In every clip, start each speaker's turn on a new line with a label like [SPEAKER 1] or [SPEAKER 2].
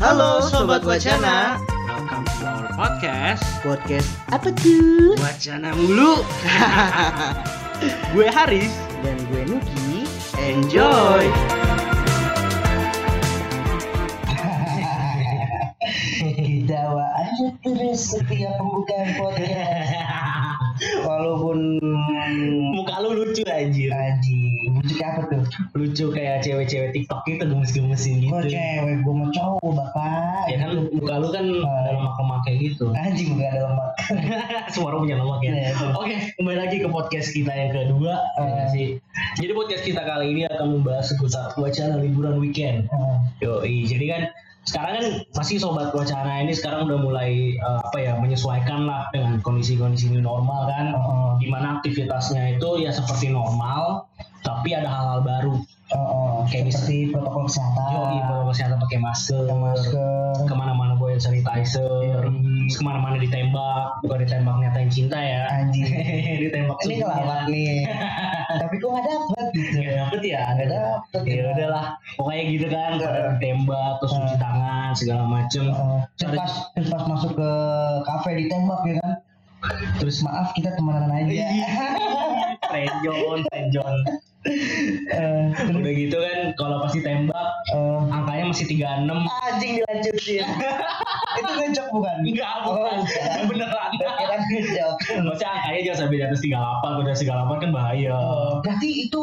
[SPEAKER 1] Halo Sobat Wacana
[SPEAKER 2] Welcome to our podcast
[SPEAKER 1] Podcast apa tuh?
[SPEAKER 2] Wacana Mulu Gue Haris
[SPEAKER 1] Dan gue Nugi
[SPEAKER 2] Enjoy
[SPEAKER 1] Ketawa aja terus setiap pembukaan podcast Walaupun
[SPEAKER 2] Muka lu lucu anjir
[SPEAKER 1] anjing Lucu kayak apa tuh?
[SPEAKER 2] Lucu kayak cewek-cewek tiktok gitu gemes-gemesin gitu
[SPEAKER 1] Kok cewek gue mau cowok bapak
[SPEAKER 2] Ya kan lu- muka lu kan ada lemak-lemak kayak gitu
[SPEAKER 1] Ah, iya. Anjing gak ada lemak
[SPEAKER 2] Semua orang punya lemak ya
[SPEAKER 1] Iya, betul.
[SPEAKER 2] Oke kembali lagi ke podcast kita yang kedua ya
[SPEAKER 1] Eh.
[SPEAKER 2] nggak sih? Jadi podcast kita kali ini akan membahas seputar wacana liburan weekend
[SPEAKER 1] Eh,
[SPEAKER 2] Yoi, jadi kan sekarang kan pasti sobat wacana ini sekarang udah mulai eh, apa ya menyesuaikan lah dengan kondisi-kondisi new normal kan,
[SPEAKER 1] Oh.
[SPEAKER 2] di mana aktivitasnya itu ya seperti normal, tapi ada hal-hal baru.
[SPEAKER 1] oh, oh,
[SPEAKER 2] Kayak
[SPEAKER 1] Seperti protokol kesehatan
[SPEAKER 2] Yoi, protokol kesehatan pakai masker,
[SPEAKER 1] Pakai masker
[SPEAKER 2] kemana-mana bawa hand sanitizer,
[SPEAKER 1] Yoi.
[SPEAKER 2] terus kemana-mana ditembak, bukan ditembak nyatain cinta ya,
[SPEAKER 1] Anjing
[SPEAKER 2] ditembak
[SPEAKER 1] ini
[SPEAKER 2] sebelumnya.
[SPEAKER 1] ngelawak nih tapi kok nggak dapet gitu
[SPEAKER 2] Gak dapet ya,
[SPEAKER 1] Nggak dapet Iya.
[SPEAKER 2] ya udahlah, pokoknya gitu kan, pada ditembak, terus cuci tangan segala macem,
[SPEAKER 1] Heeh. Terus
[SPEAKER 2] Terus-
[SPEAKER 1] pas, terus pas masuk ke kafe ditembak ya kan terus maaf kita temenan
[SPEAKER 2] Iya.
[SPEAKER 1] aja
[SPEAKER 2] Trenjon, trenjon.
[SPEAKER 1] Eh, terus
[SPEAKER 2] Udah gitu kan, kalau pasti tembak,
[SPEAKER 1] eh,
[SPEAKER 2] angkanya masih 36.
[SPEAKER 1] anjing dilanjutin itu ngejok bukan
[SPEAKER 2] Enggak,
[SPEAKER 1] Oh,
[SPEAKER 2] bukan.
[SPEAKER 1] enggak.
[SPEAKER 2] Beneran.
[SPEAKER 1] kira ngejok
[SPEAKER 2] Maksudnya angkanya jangan sampai di atas 38, udah 38 kan bahaya.
[SPEAKER 1] berarti itu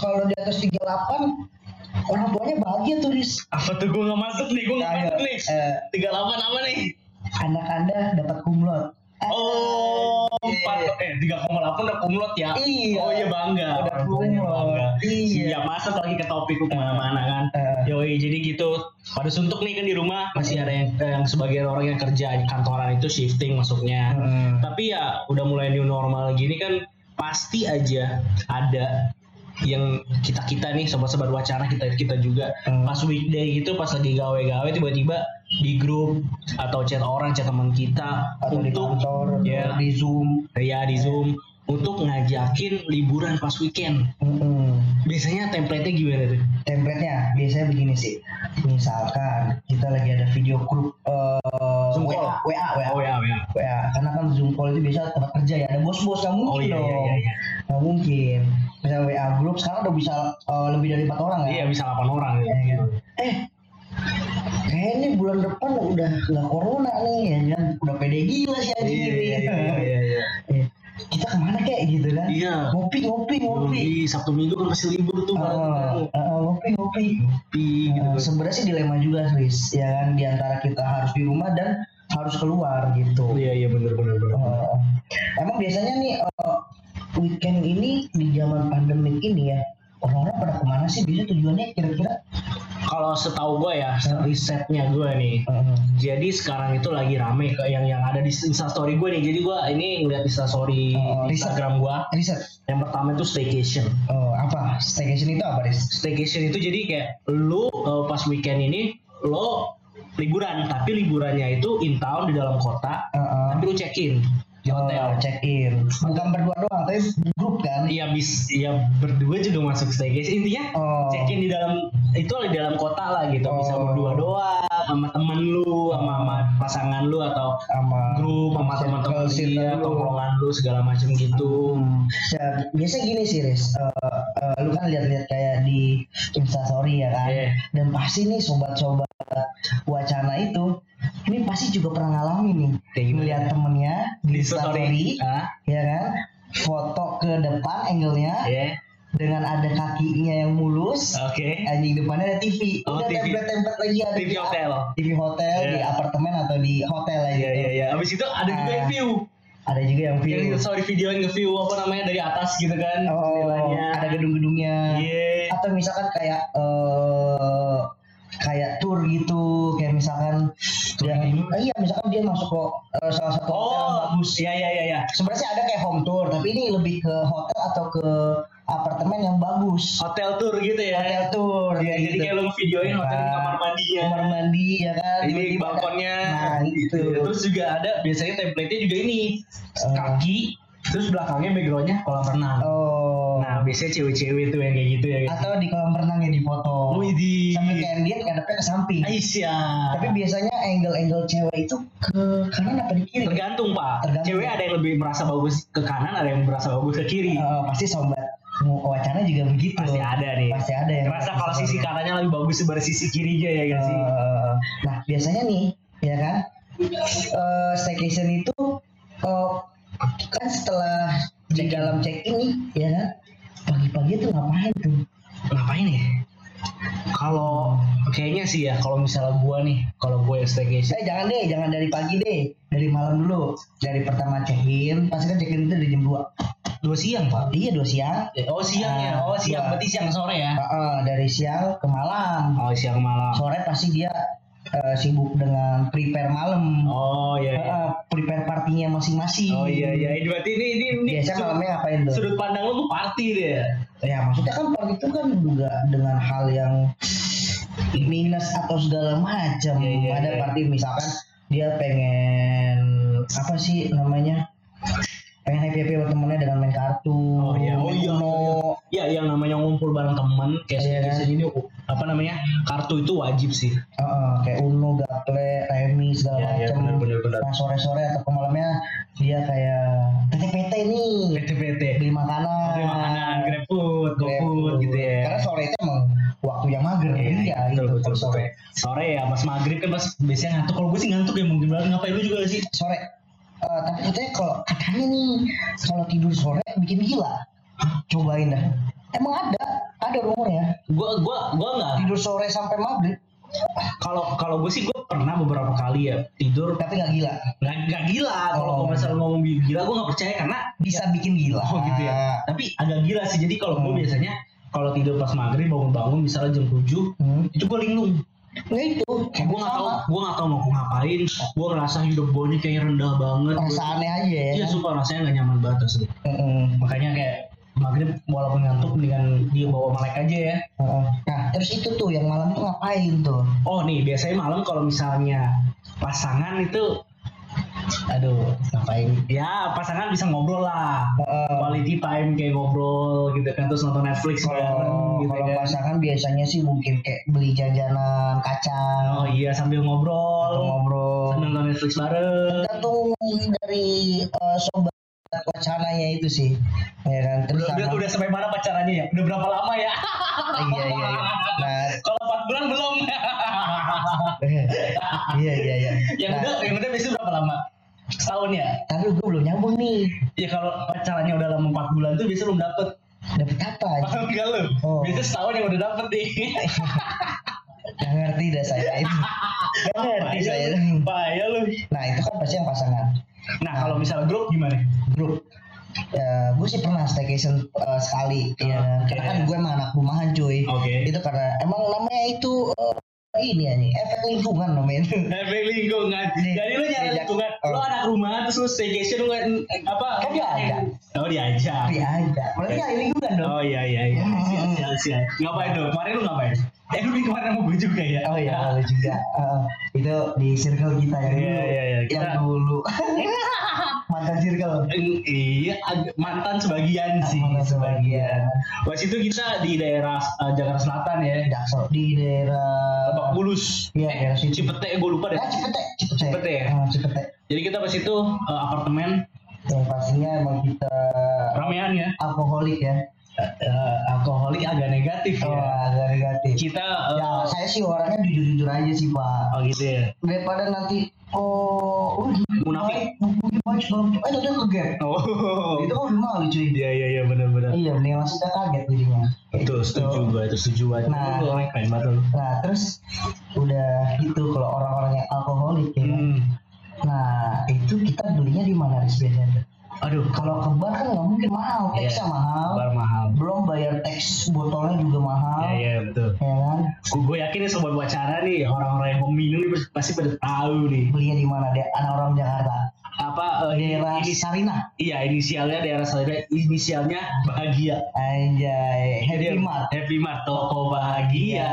[SPEAKER 1] kalau di atas 38 orang tuanya bahagia turis
[SPEAKER 2] Apa tuh gue gak masuk nih, gue gak
[SPEAKER 1] Ayo,
[SPEAKER 2] masuk nih.
[SPEAKER 1] eh,
[SPEAKER 2] 38 apa nih?
[SPEAKER 1] anak anda dapat kumlot
[SPEAKER 2] Oh, 4, eh 3,8 udah kumlot ya.
[SPEAKER 1] Iya.
[SPEAKER 2] Oh iya bangga.
[SPEAKER 1] Udah
[SPEAKER 2] Orang tuanya
[SPEAKER 1] kumlot.
[SPEAKER 2] bangga.
[SPEAKER 1] Iya.
[SPEAKER 2] Siap masuk lagi ke topik lu kemana-mana kan.
[SPEAKER 1] Eh.
[SPEAKER 2] Yoi, jadi gitu. Pada suntuk nih kan di rumah masih ada yang, yang sebagian orang yang kerja di kantoran itu shifting masuknya.
[SPEAKER 1] Hmm.
[SPEAKER 2] Tapi ya udah mulai new normal gini kan pasti aja ada yang kita kita nih sobat-sobat wacana kita kita juga
[SPEAKER 1] Hmm.
[SPEAKER 2] pas weekday gitu pas lagi gawe-gawe tiba-tiba di grup atau chat orang chat teman kita
[SPEAKER 1] atau di
[SPEAKER 2] untuk
[SPEAKER 1] kantor
[SPEAKER 2] ya.
[SPEAKER 1] di zoom
[SPEAKER 2] ya di zoom untuk ngajakin liburan pas weekend
[SPEAKER 1] Mm-mm.
[SPEAKER 2] biasanya template-nya gimana tuh
[SPEAKER 1] Template-nya biasanya begini sih. Misalkan kita lagi ada video grup eh,
[SPEAKER 2] Zoom
[SPEAKER 1] WA,
[SPEAKER 2] call.
[SPEAKER 1] WA, WA,
[SPEAKER 2] oh ya ya
[SPEAKER 1] WA. Karena kan Zoom call itu biasa tempat kerja ya. Ada bos-bos kamu
[SPEAKER 2] Oh,
[SPEAKER 1] mungkin
[SPEAKER 2] iya,
[SPEAKER 1] dong.
[SPEAKER 2] iya, iya, iya.
[SPEAKER 1] Nggak mungkin. Misal WA grup sekarang udah bisa eh, lebih dari empat orang ya.
[SPEAKER 2] iya bisa 8 orang
[SPEAKER 1] Iya,
[SPEAKER 2] gitu.
[SPEAKER 1] kan? Eh, kayaknya bulan depan udah nggak corona nih ya kan? Udah pede gila sih anjing ini.
[SPEAKER 2] iya.
[SPEAKER 1] Eh, Kita kemana kayak gitu kan?
[SPEAKER 2] Iya.
[SPEAKER 1] Ngopi, ngopi, ngopi.
[SPEAKER 2] Yoi, Sabtu Minggu kan pasti libur tuh
[SPEAKER 1] Eh,
[SPEAKER 2] bareng-bareng.
[SPEAKER 1] eh, eh, ngopi, ngopi.
[SPEAKER 2] Pi, gitu.
[SPEAKER 1] Eh, sebenarnya sih dilema juga Chris ya kan di antara kita harus di rumah dan harus keluar gitu
[SPEAKER 2] Iya iya bener bener bener.
[SPEAKER 1] Eh, emang biasanya nih eh, weekend ini di zaman pandemik ini ya orang-orang pada kemana sih biasanya tujuannya kira-kira
[SPEAKER 2] Kalau setahu gue ya risetnya gue nih.
[SPEAKER 1] Eh,
[SPEAKER 2] Jadi sekarang itu lagi rame ke yang yang ada di instastory gue nih. Jadi gue ini ngeliat instastory
[SPEAKER 1] Oh,
[SPEAKER 2] di
[SPEAKER 1] riset.
[SPEAKER 2] Instagram gue.
[SPEAKER 1] riset
[SPEAKER 2] Yang pertama itu staycation.
[SPEAKER 1] oh apa staycation itu apa Riz?
[SPEAKER 2] Staycation itu jadi kayak lu eh, pas weekend ini lo liburan, tapi liburannya itu in town di dalam kota,
[SPEAKER 1] Eh, eh.
[SPEAKER 2] tapi lu check in di hotel.
[SPEAKER 1] Oh, check in bukan berdua doang tapi grup kan
[SPEAKER 2] Iya bis, iya berdua juga masuk staycation intinya
[SPEAKER 1] Oh.
[SPEAKER 2] check in di dalam itu di dalam kota lah gitu bisa
[SPEAKER 1] Oh.
[SPEAKER 2] berdua doang sama temen lu sama, sama pasangan lu atau
[SPEAKER 1] sama
[SPEAKER 2] grup sama teman-teman
[SPEAKER 1] circle
[SPEAKER 2] dia
[SPEAKER 1] lu.
[SPEAKER 2] tongkrongan lu segala macam gitu
[SPEAKER 1] Ya, biasa gini sih, Riz. Eh, eh, lu kan lihat-lihat kayak di Instastory ya kan.
[SPEAKER 2] Iya.
[SPEAKER 1] Dan pasti nih sobat-sobat wacana itu, ini pasti juga pernah ngalamin nih.
[SPEAKER 2] Kayak gimana?
[SPEAKER 1] Melihat temennya di
[SPEAKER 2] story
[SPEAKER 1] story,
[SPEAKER 2] ah
[SPEAKER 1] ya kan. Foto ke depan angle-nya
[SPEAKER 2] ya
[SPEAKER 1] dengan ada kakinya yang mulus.
[SPEAKER 2] oke
[SPEAKER 1] Anjing depannya ada TV.
[SPEAKER 2] Oh,
[SPEAKER 1] Udah
[SPEAKER 2] TV.
[SPEAKER 1] template-template lagi ada
[SPEAKER 2] TV
[SPEAKER 1] di-
[SPEAKER 2] hotel.
[SPEAKER 1] TV hotel
[SPEAKER 2] Iya.
[SPEAKER 1] di apartemen atau di hotel aja.
[SPEAKER 2] iya iya iya abis itu ada juga yang
[SPEAKER 1] Ah.
[SPEAKER 2] view
[SPEAKER 1] Ada juga yang
[SPEAKER 2] yang
[SPEAKER 1] view.
[SPEAKER 2] sorry video yang view apa namanya dari atas gitu kan
[SPEAKER 1] Oh,
[SPEAKER 2] nilainya.
[SPEAKER 1] ada gedung-gedungnya.
[SPEAKER 2] iya
[SPEAKER 1] atau misalkan kayak eh kayak tour gitu kayak misalkan
[SPEAKER 2] Tour
[SPEAKER 1] dia,
[SPEAKER 2] gitu.
[SPEAKER 1] eh, iya misalkan dia masuk ke eh, salah satu hotel yang
[SPEAKER 2] oh
[SPEAKER 1] bagus
[SPEAKER 2] iya iya iya iya
[SPEAKER 1] sebenarnya sih ada kayak home tour tapi ini lebih ke hotel atau ke apartemen yang bagus
[SPEAKER 2] hotel tour gitu ya
[SPEAKER 1] hotel tour
[SPEAKER 2] Iya,
[SPEAKER 1] kayak
[SPEAKER 2] jadi
[SPEAKER 1] gitu.
[SPEAKER 2] kayak lo videoin hotel di
[SPEAKER 1] Nah,
[SPEAKER 2] kamar mandinya.
[SPEAKER 1] kamar mandi ya kan
[SPEAKER 2] Ini
[SPEAKER 1] Tiba-tiba ada-
[SPEAKER 2] balkonnya. Iya,
[SPEAKER 1] nah itu
[SPEAKER 2] Terus juga ada biasanya template-nya juga ini.
[SPEAKER 1] Eh.
[SPEAKER 2] Kaki Terus belakangnya backgroundnya kolam renang.
[SPEAKER 1] Oh.
[SPEAKER 2] Nah biasanya cewek-cewek tuh yang kayak gitu ya.
[SPEAKER 1] Atau di kolam renang ya
[SPEAKER 2] Oh,
[SPEAKER 1] dipoto.
[SPEAKER 2] Widi.
[SPEAKER 1] Sambil kayak dia ngadepnya ke samping.
[SPEAKER 2] Iya. Aisyah.
[SPEAKER 1] Tapi biasanya angle-angle cewek itu ke kanan apa di kiri?
[SPEAKER 2] tergantung pak.
[SPEAKER 1] Tergantung.
[SPEAKER 2] Cewek ada yang lebih merasa bagus ke kanan, ada yang merasa bagus ke kiri.
[SPEAKER 1] Eh, pasti sobat mau wacana juga begitu.
[SPEAKER 2] Pasti ada nih.
[SPEAKER 1] Pasti ada yang
[SPEAKER 2] Ngerasa kalau sisi kanannya lebih bagus daripada sisi kirinya ya gak sih?
[SPEAKER 1] Eh, nah biasanya nih ya kan eh staycation itu eh, kan setelah di dalam check in nih ya kan pagi-pagi tuh ngapain tuh
[SPEAKER 2] ngapain ya? Kalau kayaknya sih ya, kalau misalnya gua nih, kalau gue staycation,
[SPEAKER 1] eh jangan deh jangan dari pagi deh dari malam dulu dari pertama check in pasti kan check in itu dari jam 2
[SPEAKER 2] dua siang pak.
[SPEAKER 1] iya dua siang
[SPEAKER 2] Oh siang ya, oh siang,
[SPEAKER 1] Dua.
[SPEAKER 2] berarti siang sore ya?
[SPEAKER 1] Eh, eh, dari siang ke malam
[SPEAKER 2] Oh siang malam.
[SPEAKER 1] sore pasti dia eh, sibuk dengan prepare malam
[SPEAKER 2] Oh iya. iya.
[SPEAKER 1] Eh, eh, prepare partinya masing-masing
[SPEAKER 2] Oh iya iya, ini berarti ini ini, ini
[SPEAKER 1] biasanya
[SPEAKER 2] sudut,
[SPEAKER 1] Iya, malamnya ngapain tuh
[SPEAKER 2] sudut pandang lu tuh party deh.
[SPEAKER 1] ya maksudnya kan party itu kan juga dengan hal yang minus atau segala macam
[SPEAKER 2] Iya, iya,
[SPEAKER 1] ada
[SPEAKER 2] iya.
[SPEAKER 1] party misalkan dia pengen apa sih namanya pengen happy happy sama temennya dengan main kartu
[SPEAKER 2] Oh, iya. Oh,
[SPEAKER 1] main
[SPEAKER 2] iya.
[SPEAKER 1] Uno.
[SPEAKER 2] Ya yang namanya ngumpul bareng temen kayak
[SPEAKER 1] Iya, kan?
[SPEAKER 2] staycation ini apa namanya kartu itu wajib sih.
[SPEAKER 1] Heeh, kayak uno gaple remi segala
[SPEAKER 2] Iya, iya,
[SPEAKER 1] macam
[SPEAKER 2] benar, benar, benar.
[SPEAKER 1] nah sore sore atau ke malamnya dia kayak pt pt nih
[SPEAKER 2] PT-PT.
[SPEAKER 1] beli makanan
[SPEAKER 2] Beli makanan, grab food, go
[SPEAKER 1] Grab
[SPEAKER 2] food gitu ya.
[SPEAKER 1] karena sore itu emang waktu yang mager
[SPEAKER 2] Iya,
[SPEAKER 1] dia
[SPEAKER 2] betul,
[SPEAKER 1] gitu
[SPEAKER 2] betul,
[SPEAKER 1] kalau
[SPEAKER 2] betul.
[SPEAKER 1] sore
[SPEAKER 2] Sore ya, pas maghrib kan pas biasanya ngantuk. Kalau gue sih ngantuk ya mungkin banget. Ngapain lu juga sih?
[SPEAKER 1] sore. Eh, tapi katanya kalau katanya nih kalau tidur sore bikin gila. Cobain dah. Emang ada, ada rumornya.
[SPEAKER 2] Gue gue gue nggak.
[SPEAKER 1] Tidur sore sampai maghrib,
[SPEAKER 2] Kalau kalau gue sih gue pernah beberapa kali ya tidur
[SPEAKER 1] tapi nggak gila.
[SPEAKER 2] nggak nggak gila. Kalau
[SPEAKER 1] Oh.
[SPEAKER 2] gue misalnya ngomong gila, gue nggak percaya karena
[SPEAKER 1] Bisa bikin gila.
[SPEAKER 2] oh gitu ya. Tapi agak gila sih. Jadi kalau gue
[SPEAKER 1] Hmm.
[SPEAKER 2] biasanya kalau tidur pas maghrib bangun-bangun misalnya jam 7
[SPEAKER 1] Hmm.
[SPEAKER 2] itu gue linglung.
[SPEAKER 1] Nah itu,
[SPEAKER 2] Gue Eh, nggak tahu,
[SPEAKER 1] Sama.
[SPEAKER 2] gue nggak tahu mau ngapain. Gue ngerasa hidup gue ini kayak rendah banget. Gua-
[SPEAKER 1] Rasa aneh aja ya.
[SPEAKER 2] Iya, sumpah rasanya nggak nyaman banget asli.
[SPEAKER 1] Mm-mm.
[SPEAKER 2] makanya kayak maghrib walaupun ngantuk mendingan dia bawa melek aja ya
[SPEAKER 1] Heeh. Nah terus itu tuh yang malam tuh ngapain tuh?
[SPEAKER 2] oh nih biasanya malam kalau misalnya pasangan itu
[SPEAKER 1] Aduh, ngapain?
[SPEAKER 2] ya pasangan bisa ngobrol lah
[SPEAKER 1] Heeh.
[SPEAKER 2] quality time kayak ngobrol gitu kan terus nonton Netflix
[SPEAKER 1] Kalau
[SPEAKER 2] bareng gitu
[SPEAKER 1] kalau
[SPEAKER 2] kan
[SPEAKER 1] pasangan biasanya sih mungkin kayak beli
[SPEAKER 2] oh
[SPEAKER 1] jajanan kacang,
[SPEAKER 2] iya sambil
[SPEAKER 1] atau
[SPEAKER 2] ngobrol
[SPEAKER 1] ngobrol.
[SPEAKER 2] sambil nonton Netflix bareng
[SPEAKER 1] tergantung dari eh, sobat wacananya itu sih ya kan terus
[SPEAKER 2] udah, udah,
[SPEAKER 1] sama-
[SPEAKER 2] udah sampai mana pacarannya ya udah berapa lama ya
[SPEAKER 1] iya iya iya nah
[SPEAKER 2] kalau 4 bulan belum
[SPEAKER 1] iya iya iya
[SPEAKER 2] yang
[SPEAKER 1] nah,
[SPEAKER 2] udah yang udah biasanya berapa lama setahun ya
[SPEAKER 1] tapi gue belum nyambung nih
[SPEAKER 2] ya kalau pacarannya udah lama 4 bulan tuh biasanya belum dapet
[SPEAKER 1] dapet apa
[SPEAKER 2] Paham gak lu?
[SPEAKER 1] Oh.
[SPEAKER 2] Biasanya setahun yang udah dapet nih.
[SPEAKER 1] nggak ngerti dah saya itu nggak ngerti saya
[SPEAKER 2] Bahaya lu.
[SPEAKER 1] nah itu kan pasti yang pasangan
[SPEAKER 2] Nah kalau misalnya grup gimana?
[SPEAKER 1] grup ya gue sih pernah staycation eh, sekali ya
[SPEAKER 2] Oh,
[SPEAKER 1] kan? karena
[SPEAKER 2] iya.
[SPEAKER 1] kan gue emang anak rumahan cuy
[SPEAKER 2] Oke.
[SPEAKER 1] itu karena emang namanya itu eh, ini ya nih efek lingkungan namanya itu
[SPEAKER 2] Efek lingkungan.
[SPEAKER 1] Nih,
[SPEAKER 2] Jadi lu nyari
[SPEAKER 1] diajak-
[SPEAKER 2] lingkungan. Lu
[SPEAKER 1] Oh.
[SPEAKER 2] anak rumah terus lu staycation lu nggak- apa?
[SPEAKER 1] Kan diajak.
[SPEAKER 2] Oh diajak.
[SPEAKER 1] Tapi ada. Berarti nggak lingkungan dong.
[SPEAKER 2] Oh iya iya iya.
[SPEAKER 1] Hmm.
[SPEAKER 2] Sial sial sial. Ngapain dong? Kemarin lu ngapain? Eh lu di kemarin mau gue juga ya?
[SPEAKER 1] Oh iya, lu juga. Heeh. itu di circle kita yang dulu.
[SPEAKER 2] Iya, iya, iya.
[SPEAKER 1] Yang
[SPEAKER 2] Kita-
[SPEAKER 1] dulu. Mantan circle.
[SPEAKER 2] Eh, Iya, ag- mantan sebagian sih.
[SPEAKER 1] Mantan sebagian.
[SPEAKER 2] Waktu itu kita di daerah eh, Jakarta Selatan ya,
[SPEAKER 1] Jaksel di daerah
[SPEAKER 2] Lebak Bulus.
[SPEAKER 1] Iya,
[SPEAKER 2] eh,
[SPEAKER 1] daerah situ.
[SPEAKER 2] Cipete, gue lupa deh.
[SPEAKER 1] Ah, Cipete, Cipete.
[SPEAKER 2] Cipete ya?
[SPEAKER 1] Ah, Cipete.
[SPEAKER 2] Jadi kita pas itu eh, apartemen
[SPEAKER 1] Yang pastinya emang kita
[SPEAKER 2] ramean ya.
[SPEAKER 1] alkoholik ya.
[SPEAKER 2] Eh, eh, alkoholik agak negatif
[SPEAKER 1] Oh,
[SPEAKER 2] ya.
[SPEAKER 1] agak negatif.
[SPEAKER 2] Kita eh,
[SPEAKER 1] Ya, saya sih orangnya jujur-jujur aja sih, Pak.
[SPEAKER 2] oh gitu ya.
[SPEAKER 1] Daripada nanti oh, oh gini,
[SPEAKER 2] Munafik.
[SPEAKER 1] baik, gini, baik, segala macam. Eh, tadi ke gap.
[SPEAKER 2] Oh.
[SPEAKER 1] Itu kan udah malu, cuy.
[SPEAKER 2] Iya iya iya benar-benar.
[SPEAKER 1] Iya, mending langsung udah kaget jadinya.
[SPEAKER 2] Itu setuju gue, itu setuju banget.
[SPEAKER 1] Nah.
[SPEAKER 2] Lu orang keren banget lu.
[SPEAKER 1] Nah, terus udah gitu kalau orang-orang yang alkoholik ya. kan.
[SPEAKER 2] Hmm.
[SPEAKER 1] Nah, itu kita belinya di mana Riz biasanya?
[SPEAKER 2] Aduh, kalau
[SPEAKER 1] Kalau ke bar kan nggak mungkin mahal, teksnya
[SPEAKER 2] Iya,
[SPEAKER 1] mahal.
[SPEAKER 2] bar mahal.
[SPEAKER 1] Belum bayar teks botolnya juga mahal.
[SPEAKER 2] Iya iya betul.
[SPEAKER 1] Ya kan?
[SPEAKER 2] Gue yakin nih sobat wacara nih orang-orang yang peminum nih pasti pada tahu nih
[SPEAKER 1] Belinya di mana? Dia anak orang Jakarta.
[SPEAKER 2] apa eh,
[SPEAKER 1] Daerah
[SPEAKER 2] ini-
[SPEAKER 1] Sarinah.
[SPEAKER 2] iya inisialnya daerah saya inisialnya bahagia.
[SPEAKER 1] Anjay,
[SPEAKER 2] Jadi,
[SPEAKER 1] Happy Mart. Iya.
[SPEAKER 2] Happy Mart toko bahagia.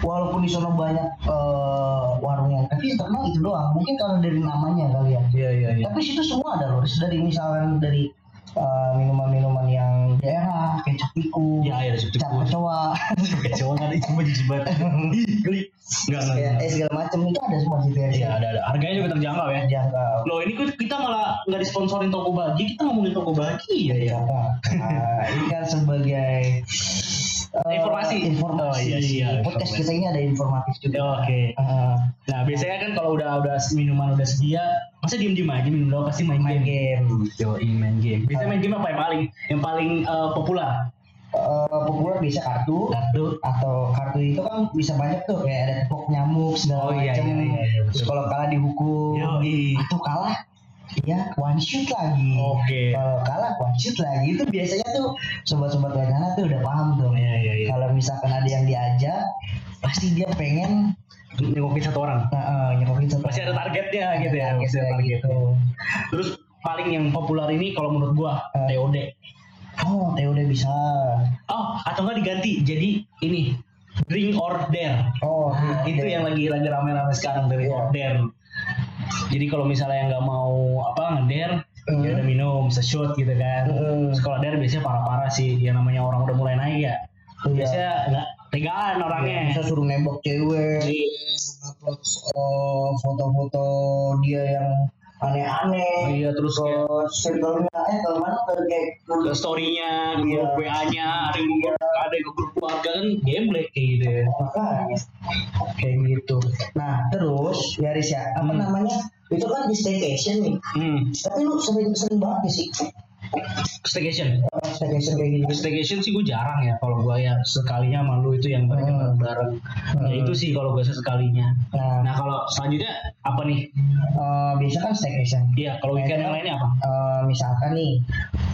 [SPEAKER 1] walaupun di sana banyak eh, warungnya tapi terkenal itu doang mungkin kalau dari namanya kali ya
[SPEAKER 2] Iya iya iya.
[SPEAKER 1] tapi situ semua ada loh dari misalkan dari eh, minuman-minuman yang daerah kayak cap tikus
[SPEAKER 2] Ya ya ada
[SPEAKER 1] cap kecoa
[SPEAKER 2] Kecewa nggak ada cuma jijibat. Klik. Enggak
[SPEAKER 1] kayak
[SPEAKER 2] enggak.
[SPEAKER 1] eh, segala macam itu ada semua di daerah
[SPEAKER 2] Iya ada ada. Harganya juga terjangkau ya.
[SPEAKER 1] jangkau
[SPEAKER 2] Loh ini kok kita malah nggak disponsorin toko baju, kita ngomongin toko baju ya ya.
[SPEAKER 1] Apa? Ah, ini kan sebagai eh,
[SPEAKER 2] Informasi.
[SPEAKER 1] informasi.
[SPEAKER 2] Oh, iya, iya,
[SPEAKER 1] Podcast
[SPEAKER 2] informasi.
[SPEAKER 1] kita ini ada informatif
[SPEAKER 2] Ya,
[SPEAKER 1] juga.
[SPEAKER 2] Oke.
[SPEAKER 1] Eh,
[SPEAKER 2] Nah biasanya kan kalau udah udah minuman udah sedia, masa diem diem aja minum doang pasti main
[SPEAKER 1] main
[SPEAKER 2] game.
[SPEAKER 1] game.
[SPEAKER 2] Yo, main game. Biasanya main game apa yang paling yang paling eh, populer?
[SPEAKER 1] Eh, populer bisa kartu
[SPEAKER 2] Kartu.
[SPEAKER 1] atau kartu itu kan bisa banyak tuh kayak ada tepok nyamuk
[SPEAKER 2] Oh,
[SPEAKER 1] segala
[SPEAKER 2] iya,
[SPEAKER 1] macam.
[SPEAKER 2] iya, iya, iya, betul.
[SPEAKER 1] Terus kalau kalah dihukum.
[SPEAKER 2] Yoi.
[SPEAKER 1] Atau kalah ya one shoot lagi.
[SPEAKER 2] Oke.
[SPEAKER 1] Kalau Eh, kalah one shoot lagi itu biasanya tuh sobat-sobat wacana tuh udah paham tuh.
[SPEAKER 2] Iya iya iya.
[SPEAKER 1] Kalau misalkan ada yang diajak pasti dia pengen
[SPEAKER 2] Nengokin satu orang.
[SPEAKER 1] Nah, eh, nyemokin satu
[SPEAKER 2] Pasti ada targetnya
[SPEAKER 1] Ada
[SPEAKER 2] gitu ya. Pasti ada target.
[SPEAKER 1] targetnya gitu.
[SPEAKER 2] Terus paling yang populer ini kalau menurut gua
[SPEAKER 1] Eh.
[SPEAKER 2] TOD.
[SPEAKER 1] Oh, Teh udah bisa.
[SPEAKER 2] Oh, atau nggak diganti jadi ini drink or dare.
[SPEAKER 1] Oh,
[SPEAKER 2] Nah,
[SPEAKER 1] iya,
[SPEAKER 2] itu
[SPEAKER 1] iya.
[SPEAKER 2] yang lagi lagi rame-rame sekarang dari
[SPEAKER 1] Iya.
[SPEAKER 2] order. Jadi kalau misalnya yang nggak mau apa ngeder,
[SPEAKER 1] Hmm.
[SPEAKER 2] ya udah minum seshot gitu kan.
[SPEAKER 1] Hmm.
[SPEAKER 2] Terus kalau der biasanya parah-parah sih, yang namanya orang udah mulai naik ya.
[SPEAKER 1] Iya.
[SPEAKER 2] Biasanya nggak tegaan orangnya.
[SPEAKER 1] Bisa suruh nembak cewek,
[SPEAKER 2] Iya.
[SPEAKER 1] upload eh, foto-foto dia yang aneh-aneh.
[SPEAKER 2] Iya terus kayak
[SPEAKER 1] Terus circle-nya eh kalau mana kalau kayak gitu.
[SPEAKER 2] ke story-nya, ke
[SPEAKER 1] Iya.
[SPEAKER 2] grup WA-nya, ada yang ke grup, ada yang ke grup keluarga kan gameplay kayak gitu. ya.
[SPEAKER 1] makanya kayak gitu. Nah, terus dari siapa apa
[SPEAKER 2] Hmm.
[SPEAKER 1] namanya? Itu kan di staycation nih.
[SPEAKER 2] Hmm,
[SPEAKER 1] Tapi lu sering-sering banget ya sih
[SPEAKER 2] staycation.
[SPEAKER 1] eh, staycation kayak gitu.
[SPEAKER 2] Staycation sih gue jarang ya kalau gue ya sekalinya malu itu yang bareng bareng. Ya
[SPEAKER 1] Hmm.
[SPEAKER 2] itu sih kalau gue sekalinya.
[SPEAKER 1] Nah,
[SPEAKER 2] Nah kalau selanjutnya apa nih?
[SPEAKER 1] eh, biasa kan staycation.
[SPEAKER 2] Iya kalau weekend yang lainnya apa?
[SPEAKER 1] Eh, misalkan nih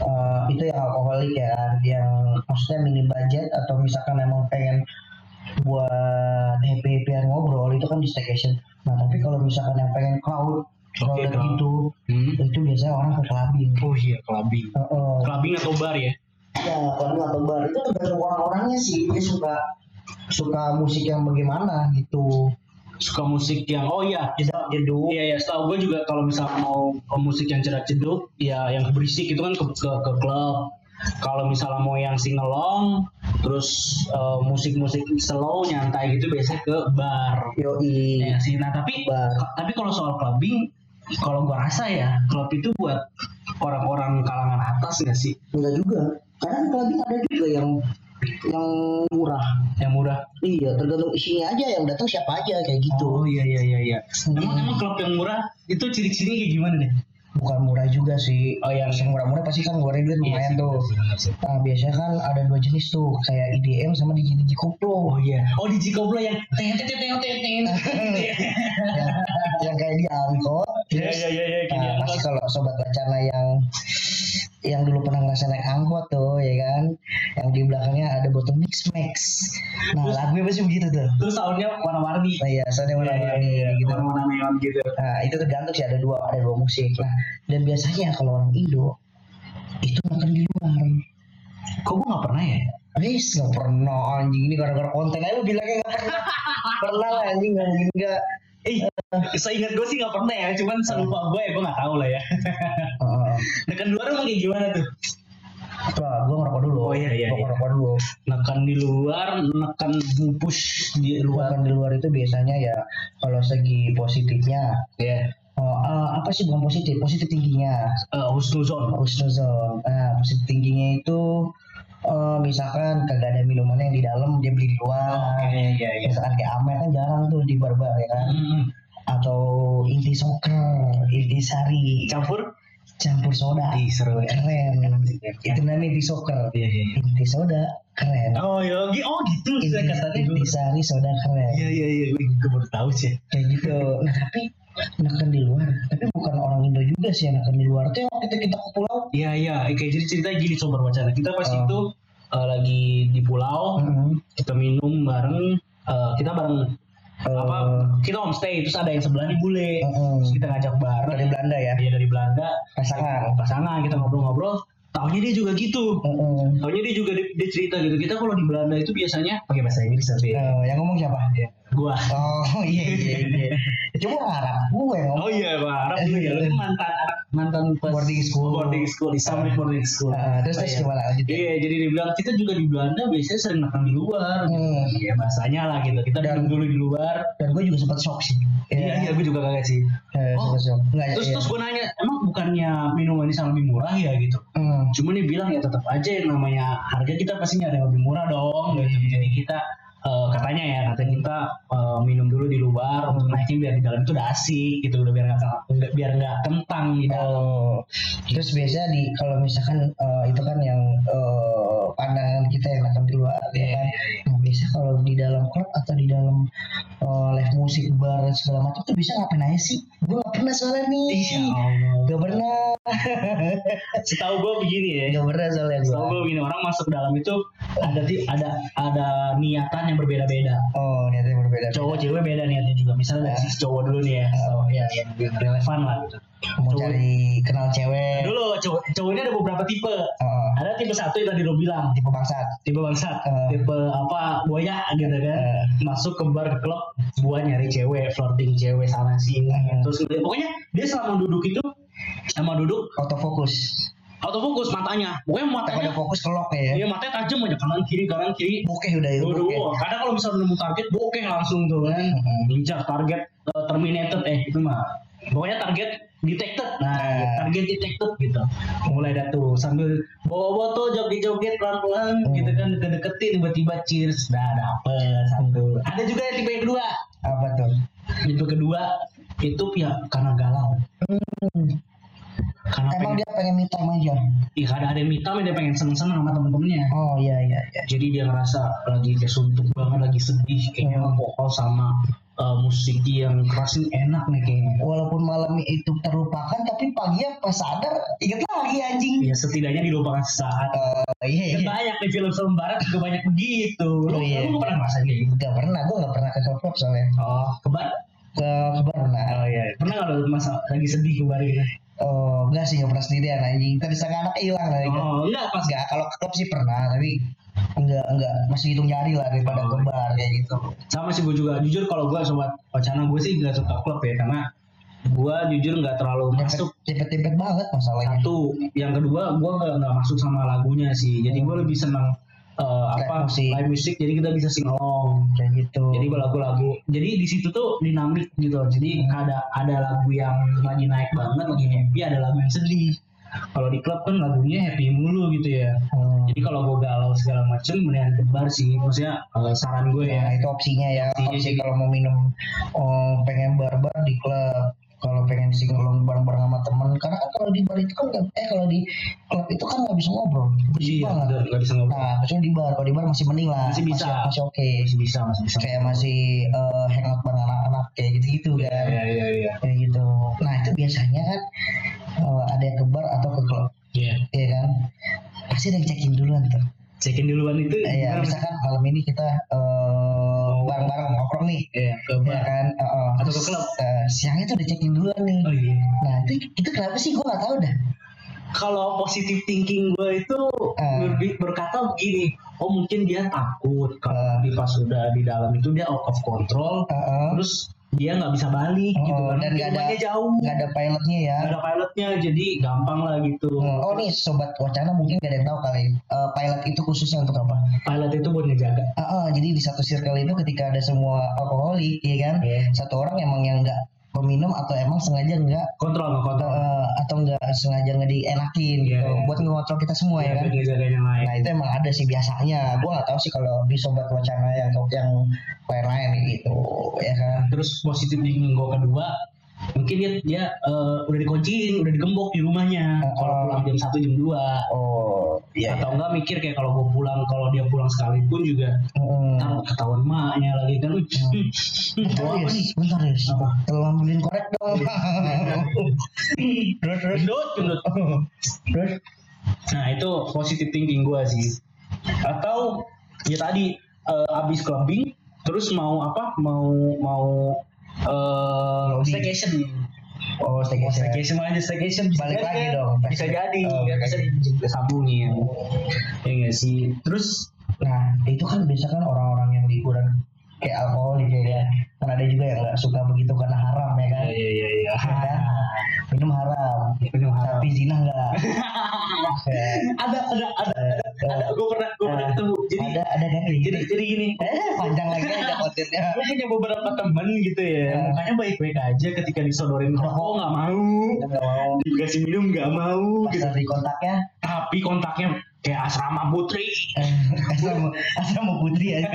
[SPEAKER 1] eh, itu yang alkoholik ya yang maksudnya mini budget atau misalkan emang pengen buat happy happyan ngobrol itu kan di staycation nah tapi kalau misalkan yang pengen crowd crowded
[SPEAKER 2] crowd.
[SPEAKER 1] itu
[SPEAKER 2] Hmm.
[SPEAKER 1] itu biasanya orang ke clubbing
[SPEAKER 2] Oh iya kelabing.
[SPEAKER 1] Heeh.
[SPEAKER 2] Kelabing atau bar ya?
[SPEAKER 1] ya clubbing atau bar itu tergantung orang-orangnya sih dia suka suka musik yang bagaimana gitu
[SPEAKER 2] Suka musik yang oh iya.
[SPEAKER 1] jedak jeduk
[SPEAKER 2] Iya ya, setahu gue juga kalau misal mau ke musik yang cerak ceduk, ya yang berisik itu kan ke ke, ke klub. Kalau misalnya mau yang singelong, terus eh, musik-musik slow nyantai gitu biasanya ke bar.
[SPEAKER 1] yoi
[SPEAKER 2] Iya sih. Nah tapi
[SPEAKER 1] Bar.
[SPEAKER 2] tapi kalau soal clubbing, kalau gua rasa ya klub itu buat orang-orang kalangan atas nggak sih?
[SPEAKER 1] enggak juga karena clubbing ada juga yang yang murah
[SPEAKER 2] Yang murah.
[SPEAKER 1] Iya, tergantung isinya aja yang datang siapa aja kayak gitu.
[SPEAKER 2] Oh iya iya iya. iya. Emang emang klub yang murah itu ciri-cirinya kayak gimana deh?
[SPEAKER 1] Bukan murah juga sih.
[SPEAKER 2] Oh, iya.
[SPEAKER 1] yang murah-murah pasti kan ngeluarin
[SPEAKER 2] Iya
[SPEAKER 1] duit
[SPEAKER 2] sih,
[SPEAKER 1] lumayan tuh.
[SPEAKER 2] benar sih, benar sih.
[SPEAKER 1] Nah, biasanya kan ada dua jenis tuh, kayak IDM sama DJ DJ
[SPEAKER 2] Oh
[SPEAKER 1] koplo.
[SPEAKER 2] iya. Oh di Jikoblo yang teng teng teng teng teng.
[SPEAKER 1] yang, yang kayak di angkot.
[SPEAKER 2] Iya
[SPEAKER 1] Terus,
[SPEAKER 2] iya iya iya. kayak
[SPEAKER 1] nah,
[SPEAKER 2] di
[SPEAKER 1] pasti
[SPEAKER 2] atas.
[SPEAKER 1] kalau sobat wacana yang yang dulu pernah ngerasain naik angkot tuh, ya kan? Yang di belakangnya ada botol mix max. Nah, lagunya pasti begitu tuh.
[SPEAKER 2] Terus soundnya warna-warni.
[SPEAKER 1] Nah, ya, soalnya
[SPEAKER 2] Iya,
[SPEAKER 1] warna-warni gitu.
[SPEAKER 2] Warna-warna neon gitu.
[SPEAKER 1] Nah, itu tergantung sih ada dua ada dua musik. Nah, dan biasanya kalau orang Indo itu makan di luar.
[SPEAKER 2] Kok gua nggak pernah ya?
[SPEAKER 1] Wis nggak pernah anjing ini gara-gara konten aja lu bilangnya nggak pernah. pernah lah anjing anjing nggak.
[SPEAKER 2] Eh, seingat gue sih nggak pernah ya, cuman selupa gue ya gue nggak tahu lah ya.
[SPEAKER 1] Heeh.
[SPEAKER 2] Nekan di luar emang kayak gimana tuh?
[SPEAKER 1] Tuh, gua ngerokok dulu.
[SPEAKER 2] Oh, iya, iya, iya.
[SPEAKER 1] Gua ngerokok dulu.
[SPEAKER 2] Nekan di luar, nekan push di luar.
[SPEAKER 1] Makan kan di luar itu biasanya ya kalau segi positifnya
[SPEAKER 2] Ya.
[SPEAKER 1] Oh, eh, apa sih bukan positif? Positif tingginya.
[SPEAKER 2] Eh, husnuzon.
[SPEAKER 1] Husnuzon. Nah, positif tingginya itu eh, misalkan kagak ada minumannya yang di dalam dia beli di luar.
[SPEAKER 2] Iya iya iya.
[SPEAKER 1] misalkan kayak Amer kan jarang tuh di barbar ya kan
[SPEAKER 2] Hmm.
[SPEAKER 1] atau inti soccer inti sari
[SPEAKER 2] Campur?
[SPEAKER 1] campur soda
[SPEAKER 2] Ih, seru ya.
[SPEAKER 1] keren itu namanya inti soccer
[SPEAKER 2] Iya iya. iya.
[SPEAKER 1] inti soda keren
[SPEAKER 2] Oh ya, gi- oh gitu
[SPEAKER 1] inti,
[SPEAKER 2] saya katanya.
[SPEAKER 1] inti sari soda keren
[SPEAKER 2] Iya iya iya, Wih, gue baru tahu sih.
[SPEAKER 1] kayak gitu nah tapi neken di luar tapi bukan orang Indo juga sih yang neken di luar tuh yang waktu itu kita ke pulau
[SPEAKER 2] Iya iya, kayak jadi cerita gini sobat wacana. Kita pas
[SPEAKER 1] Oh. Hmm.
[SPEAKER 2] itu eh, lagi di pulau,
[SPEAKER 1] Heeh.
[SPEAKER 2] kita minum bareng, eh, kita bareng apa?
[SPEAKER 1] Eh.
[SPEAKER 2] Kita homestay, terus ada yang sebelahnya bule,
[SPEAKER 1] Heeh.
[SPEAKER 2] terus kita ngajak bareng.
[SPEAKER 1] Hmm. dari Belanda ya
[SPEAKER 2] Dia dari Belanda,
[SPEAKER 1] pasangan
[SPEAKER 2] pasangan kita ngobrol-ngobrol. Taunya dia juga gitu.
[SPEAKER 1] Heeh.
[SPEAKER 2] Taunya dia juga di- dia cerita gitu. Kita kalau di Belanda itu biasanya pakai bahasa Inggris tapi ya.
[SPEAKER 1] Eh, yang ngomong siapa?
[SPEAKER 2] Gua.
[SPEAKER 1] Oh iya iya iya. Cuma Arab gue yang ngomong.
[SPEAKER 2] Oh iya, Pak. Arab dulu ya. Lu kan mantan mantan pas
[SPEAKER 1] Boarding school.
[SPEAKER 2] Boarding school, Islamic boarding school.
[SPEAKER 1] Ah, terus
[SPEAKER 2] Oh,
[SPEAKER 1] terus
[SPEAKER 2] iya.
[SPEAKER 1] gimana lanjut?
[SPEAKER 2] Iya, jadi dibilang kita juga di Belanda biasanya sering makan di luar.
[SPEAKER 1] Hmm.
[SPEAKER 2] Iya, bahasanya lah gitu. Kita
[SPEAKER 1] Dan-
[SPEAKER 2] minum dulu di luar.
[SPEAKER 1] Dan gue juga sempat shock sih.
[SPEAKER 2] Iya, iya, gue juga kaget sih.
[SPEAKER 1] Eh,
[SPEAKER 2] Oh.
[SPEAKER 1] sempat shock. Enggak,
[SPEAKER 2] Terus
[SPEAKER 1] iya.
[SPEAKER 2] terus gue nanya, emang bukannya minuman ini sama lebih murah ya gitu?
[SPEAKER 1] Hmm.
[SPEAKER 2] Cuma dia bilang ya tetap aja yang namanya harga kita pasti ada yang lebih murah dong. Gitu. Jadi kita eh, katanya ya kata kita eh, minum dulu di luar untuk naiknya biar di dalam itu udah asik gitu udah biar nggak biar nggak kentang gitu. di dalam.
[SPEAKER 1] Oh. Terus biasanya di kalau misalkan eh, itu kan yang eh, pandangan kita yang akan di luar ya kan. Nah, biasa kalau di dalam klub atau di dalam eh, live musik bar dan segala macam tuh bisa ngapain aja sih? Gue gak pernah soalnya nih.
[SPEAKER 2] Ya Allah.
[SPEAKER 1] Gak pernah.
[SPEAKER 2] Setahu gue begini ya.
[SPEAKER 1] Gak pernah soalnya
[SPEAKER 2] Setahu
[SPEAKER 1] gue.
[SPEAKER 2] gue begini orang masuk ke dalam itu ada ti- ada ada niatan yang berbeda-beda.
[SPEAKER 1] Oh, niatnya berbeda.
[SPEAKER 2] Cowok cewek beda niatnya juga. Misalnya dari sisi cowok dulu nih ya. Oh, ya yang relevan lah gitu.
[SPEAKER 1] iya, mau
[SPEAKER 2] Cowok-
[SPEAKER 1] cari kenal cewek.
[SPEAKER 2] Dulu cowok, cowok ini ada beberapa tipe.
[SPEAKER 1] Oh,
[SPEAKER 2] Ada tipe satu yang tadi lo bilang,
[SPEAKER 1] tipe bangsat.
[SPEAKER 2] tipe bangsat,
[SPEAKER 1] Eh.
[SPEAKER 2] tipe apa buaya gitu kan.
[SPEAKER 1] Eh.
[SPEAKER 2] Masuk ke bar ke klub buat nyari cewek, flirting cewek sana sini.
[SPEAKER 1] Eh.
[SPEAKER 2] Terus ngeliat- pokoknya dia selama duduk itu sama duduk
[SPEAKER 1] Autofokus.
[SPEAKER 2] autofokus matanya. Pokoknya matanya
[SPEAKER 1] Kalau fokus kelok ya.
[SPEAKER 2] Iya matanya tajam aja kanan kiri kanan kiri.
[SPEAKER 1] Bokeh udah ya.
[SPEAKER 2] Waduh,
[SPEAKER 1] bokeh.
[SPEAKER 2] wah, kadang kalau misalnya nemu target bokeh langsung
[SPEAKER 1] Eh.
[SPEAKER 2] tuh kan.
[SPEAKER 1] Mm-mm.
[SPEAKER 2] Injak target eh, terminated eh itu mah. Pokoknya target detected. Nah,
[SPEAKER 1] Nah.
[SPEAKER 2] target detected gitu. Mulai dah tuh sambil bawa-bawa tuh joget-joget pelan-pelan
[SPEAKER 1] Hmm.
[SPEAKER 2] gitu kan deket-deketin tiba-tiba cheers dah dapet satu. Ada juga yang tipe yang kedua.
[SPEAKER 1] Apa tuh?
[SPEAKER 2] Tipe kedua itu pihak karena galau. Karena
[SPEAKER 1] Hmm. Emang
[SPEAKER 2] pengen,
[SPEAKER 1] dia pengen me time aja.
[SPEAKER 2] ih, ada ada yang minta, dia pengen seneng-seneng sama temen-temennya.
[SPEAKER 1] Oh iya iya iya.
[SPEAKER 2] jadi dia ngerasa lagi kayak suntuk banget lagi sedih kayaknya
[SPEAKER 1] Hmm.
[SPEAKER 2] alkohol sama uh, musik yang keras ini enak nih kayaknya
[SPEAKER 1] Walaupun malam itu terlupakan, tapi pagi pas sadar inget lagi anjing.
[SPEAKER 2] ya setidaknya dilupakan sesaat
[SPEAKER 1] Oh iya
[SPEAKER 2] Kan
[SPEAKER 1] iya.
[SPEAKER 2] banyak nih film-film barat juga banyak begitu lu,
[SPEAKER 1] Oh, iya.
[SPEAKER 2] lu pernah ngerasain kayak gitu
[SPEAKER 1] Gak pernah, gue gak pernah ke klub klub soalnya.
[SPEAKER 2] oh kebar
[SPEAKER 1] Ke ke bar pernah.
[SPEAKER 2] oh iya pernah kalau lu masa lagi sedih kebar gitu
[SPEAKER 1] Oh enggak sih, gak pernah sendirian anjing. Tadi sang anak hilang tadi.
[SPEAKER 2] oh
[SPEAKER 1] Oh.
[SPEAKER 2] enggak pas
[SPEAKER 1] Enggak, kalau ke klub sih pernah, tapi enggak enggak masih hitung jari lah
[SPEAKER 2] Oh.
[SPEAKER 1] daripada ke bar kayak gitu.
[SPEAKER 2] sama sih gue juga jujur kalau gue sobat wacana gue sih nggak suka klub ya karena gue jujur nggak terlalu masuk
[SPEAKER 1] Cepet-cepet banget masalahnya.
[SPEAKER 2] satu yang kedua gue nggak nggak masuk sama lagunya sih jadi gue lebih senang eh,
[SPEAKER 1] Live
[SPEAKER 2] apa
[SPEAKER 1] music.
[SPEAKER 2] live music jadi kita bisa sing along
[SPEAKER 1] Kayak gitu.
[SPEAKER 2] jadi gua lagu-lagu jadi di situ tuh dinamik gitu loh. jadi ada ada lagu yang lagi naik banget lagi happy ada lagu yang sedih kalau di klub kan lagunya happy mulu gitu ya
[SPEAKER 1] Hmm.
[SPEAKER 2] jadi kalau gue galau segala macem mendingan ke bar sih maksudnya eh, saran gue ya
[SPEAKER 1] Nah, itu opsinya ya.
[SPEAKER 2] Opsinya
[SPEAKER 1] Opsi
[SPEAKER 2] sih.
[SPEAKER 1] kalau mau minum oh, pengen barbar di klub. Kalau pengen singelong bareng-bareng sama temen. Karena kan kalau di bar itu kan nggak- eh kalau di klub itu kan nggak bisa ngobrol. Berisik
[SPEAKER 2] iya
[SPEAKER 1] banget.
[SPEAKER 2] nggak bisa ngobrol
[SPEAKER 1] Nah, maksudnya di bar, kalau di bar masih mending lah.
[SPEAKER 2] Masih bisa.
[SPEAKER 1] Masih, masih oke.
[SPEAKER 2] masih bisa masih bisa
[SPEAKER 1] Kayak masih eh, hangout bareng anak-anak kayak gitu-gitu kan.
[SPEAKER 2] iya iya iya
[SPEAKER 1] Kayak gitu. Nah, itu biasanya kan eh, ada yang ke bar atau ke klub,
[SPEAKER 2] Iya.
[SPEAKER 1] ya kan? Pasti ada yang check-in duluan tuh.
[SPEAKER 2] check in duluan itu gimana,
[SPEAKER 1] Iya,
[SPEAKER 2] Mas?
[SPEAKER 1] misalkan malam ini kita eh, bareng-bareng nongkrong nih.
[SPEAKER 2] Iya, ke
[SPEAKER 1] ya
[SPEAKER 2] bar
[SPEAKER 1] kan Eh, eh.
[SPEAKER 2] Atau ke klub.
[SPEAKER 1] Eh, siangnya tuh udah check-in duluan nih
[SPEAKER 2] oh iya
[SPEAKER 1] nah itu itu kenapa sih gue gak tahu dah
[SPEAKER 2] kalau positive thinking gue itu
[SPEAKER 1] Eh.
[SPEAKER 2] ber- berkata begini oh mungkin dia takut kalau di pas sudah di dalam itu dia out of control
[SPEAKER 1] Heeh.
[SPEAKER 2] terus dia nggak bisa balik
[SPEAKER 1] Eh. Oh,
[SPEAKER 2] gitu kan
[SPEAKER 1] dan nggak ada-
[SPEAKER 2] Rumahnya jauh
[SPEAKER 1] nggak ada pilotnya ya
[SPEAKER 2] nggak ada pilotnya jadi gampang lah gitu
[SPEAKER 1] Hmm, oh nih sobat wacana mungkin gak ada yang tahu kali Eh, pilot itu khususnya untuk apa
[SPEAKER 2] pilot itu buat ngejaga
[SPEAKER 1] Eh, eh, jadi di satu circle itu ketika ada semua alkoholik ya kan
[SPEAKER 2] Iya.
[SPEAKER 1] satu orang emang yang nggak peminum atau emang sengaja nggak
[SPEAKER 2] kontrol nggak kontrol
[SPEAKER 1] eh, atau nggak sengaja nggak dienakin
[SPEAKER 2] Iya,
[SPEAKER 1] gitu
[SPEAKER 2] iya.
[SPEAKER 1] buat ngontrol kita semua ya
[SPEAKER 2] buat
[SPEAKER 1] kan
[SPEAKER 2] ngejaga yang lain
[SPEAKER 1] Nah itu emang ada sih biasanya. Gue nggak tahu sih kalau di sobat wacana yang yang lain-lain gitu, ya kan.
[SPEAKER 2] terus positive thinking gue kedua mungkin dia dia eh, udah dikunciin udah digembok di rumahnya
[SPEAKER 1] Eh,
[SPEAKER 2] kalau
[SPEAKER 1] eh.
[SPEAKER 2] pulang jam satu jam dua
[SPEAKER 1] Oh, iya.
[SPEAKER 2] atau enggak mikir kayak kalau gue pulang kalau dia pulang sekalipun juga
[SPEAKER 1] Mm.
[SPEAKER 2] Ntar ketahuan maknya lagi kan lu
[SPEAKER 1] Bentar
[SPEAKER 2] apa
[SPEAKER 1] Yus,
[SPEAKER 2] nih
[SPEAKER 1] bentar Yus.
[SPEAKER 2] Apa? Iya.
[SPEAKER 1] Tolong ambilin korek dong. terus terus.
[SPEAKER 2] gendut gendut
[SPEAKER 1] Terus.
[SPEAKER 2] nah itu positive thinking gua sih atau ya tadi eh, abis clubbing terus mau apa mau mau eh Oh,
[SPEAKER 1] Lobby.
[SPEAKER 2] staycation
[SPEAKER 1] Oh,
[SPEAKER 2] Iya.
[SPEAKER 1] staycation.
[SPEAKER 2] staycation aja staycation bisa
[SPEAKER 1] Balik
[SPEAKER 2] jadi
[SPEAKER 1] lagi
[SPEAKER 2] kan?
[SPEAKER 1] dong,
[SPEAKER 2] bisa
[SPEAKER 1] pasti.
[SPEAKER 2] jadi
[SPEAKER 1] Oh,
[SPEAKER 2] ya, bisa disambungin ya nggak sih terus
[SPEAKER 1] Nah, itu kan biasa kan orang-orang yang liburan kayak alkoholik ya. kan? Kan ada juga yang nggak suka begitu karena haram ya kan.
[SPEAKER 2] iya iya iya
[SPEAKER 1] Ya kan? Minum haram,
[SPEAKER 2] Minum haram.
[SPEAKER 1] tapi zina enggak.
[SPEAKER 2] ada ada ada ada gue pernah gue pernah ketemu jadi
[SPEAKER 1] ada ada kan kayak
[SPEAKER 2] jadi
[SPEAKER 1] gitu.
[SPEAKER 2] jadi gini
[SPEAKER 1] Eh, panjang lagi aja kontennya.
[SPEAKER 2] gue punya beberapa temen gitu ya
[SPEAKER 1] Ya.
[SPEAKER 2] mukanya baik-baik aja ketika disodorin rokok nggak mau
[SPEAKER 1] Enggak mau
[SPEAKER 2] dikasih minum nggak mau gitu.
[SPEAKER 1] pasar di ya. kontaknya
[SPEAKER 2] tapi kontaknya kayak asrama putri
[SPEAKER 1] eh, asal mau- asal mau putri aja.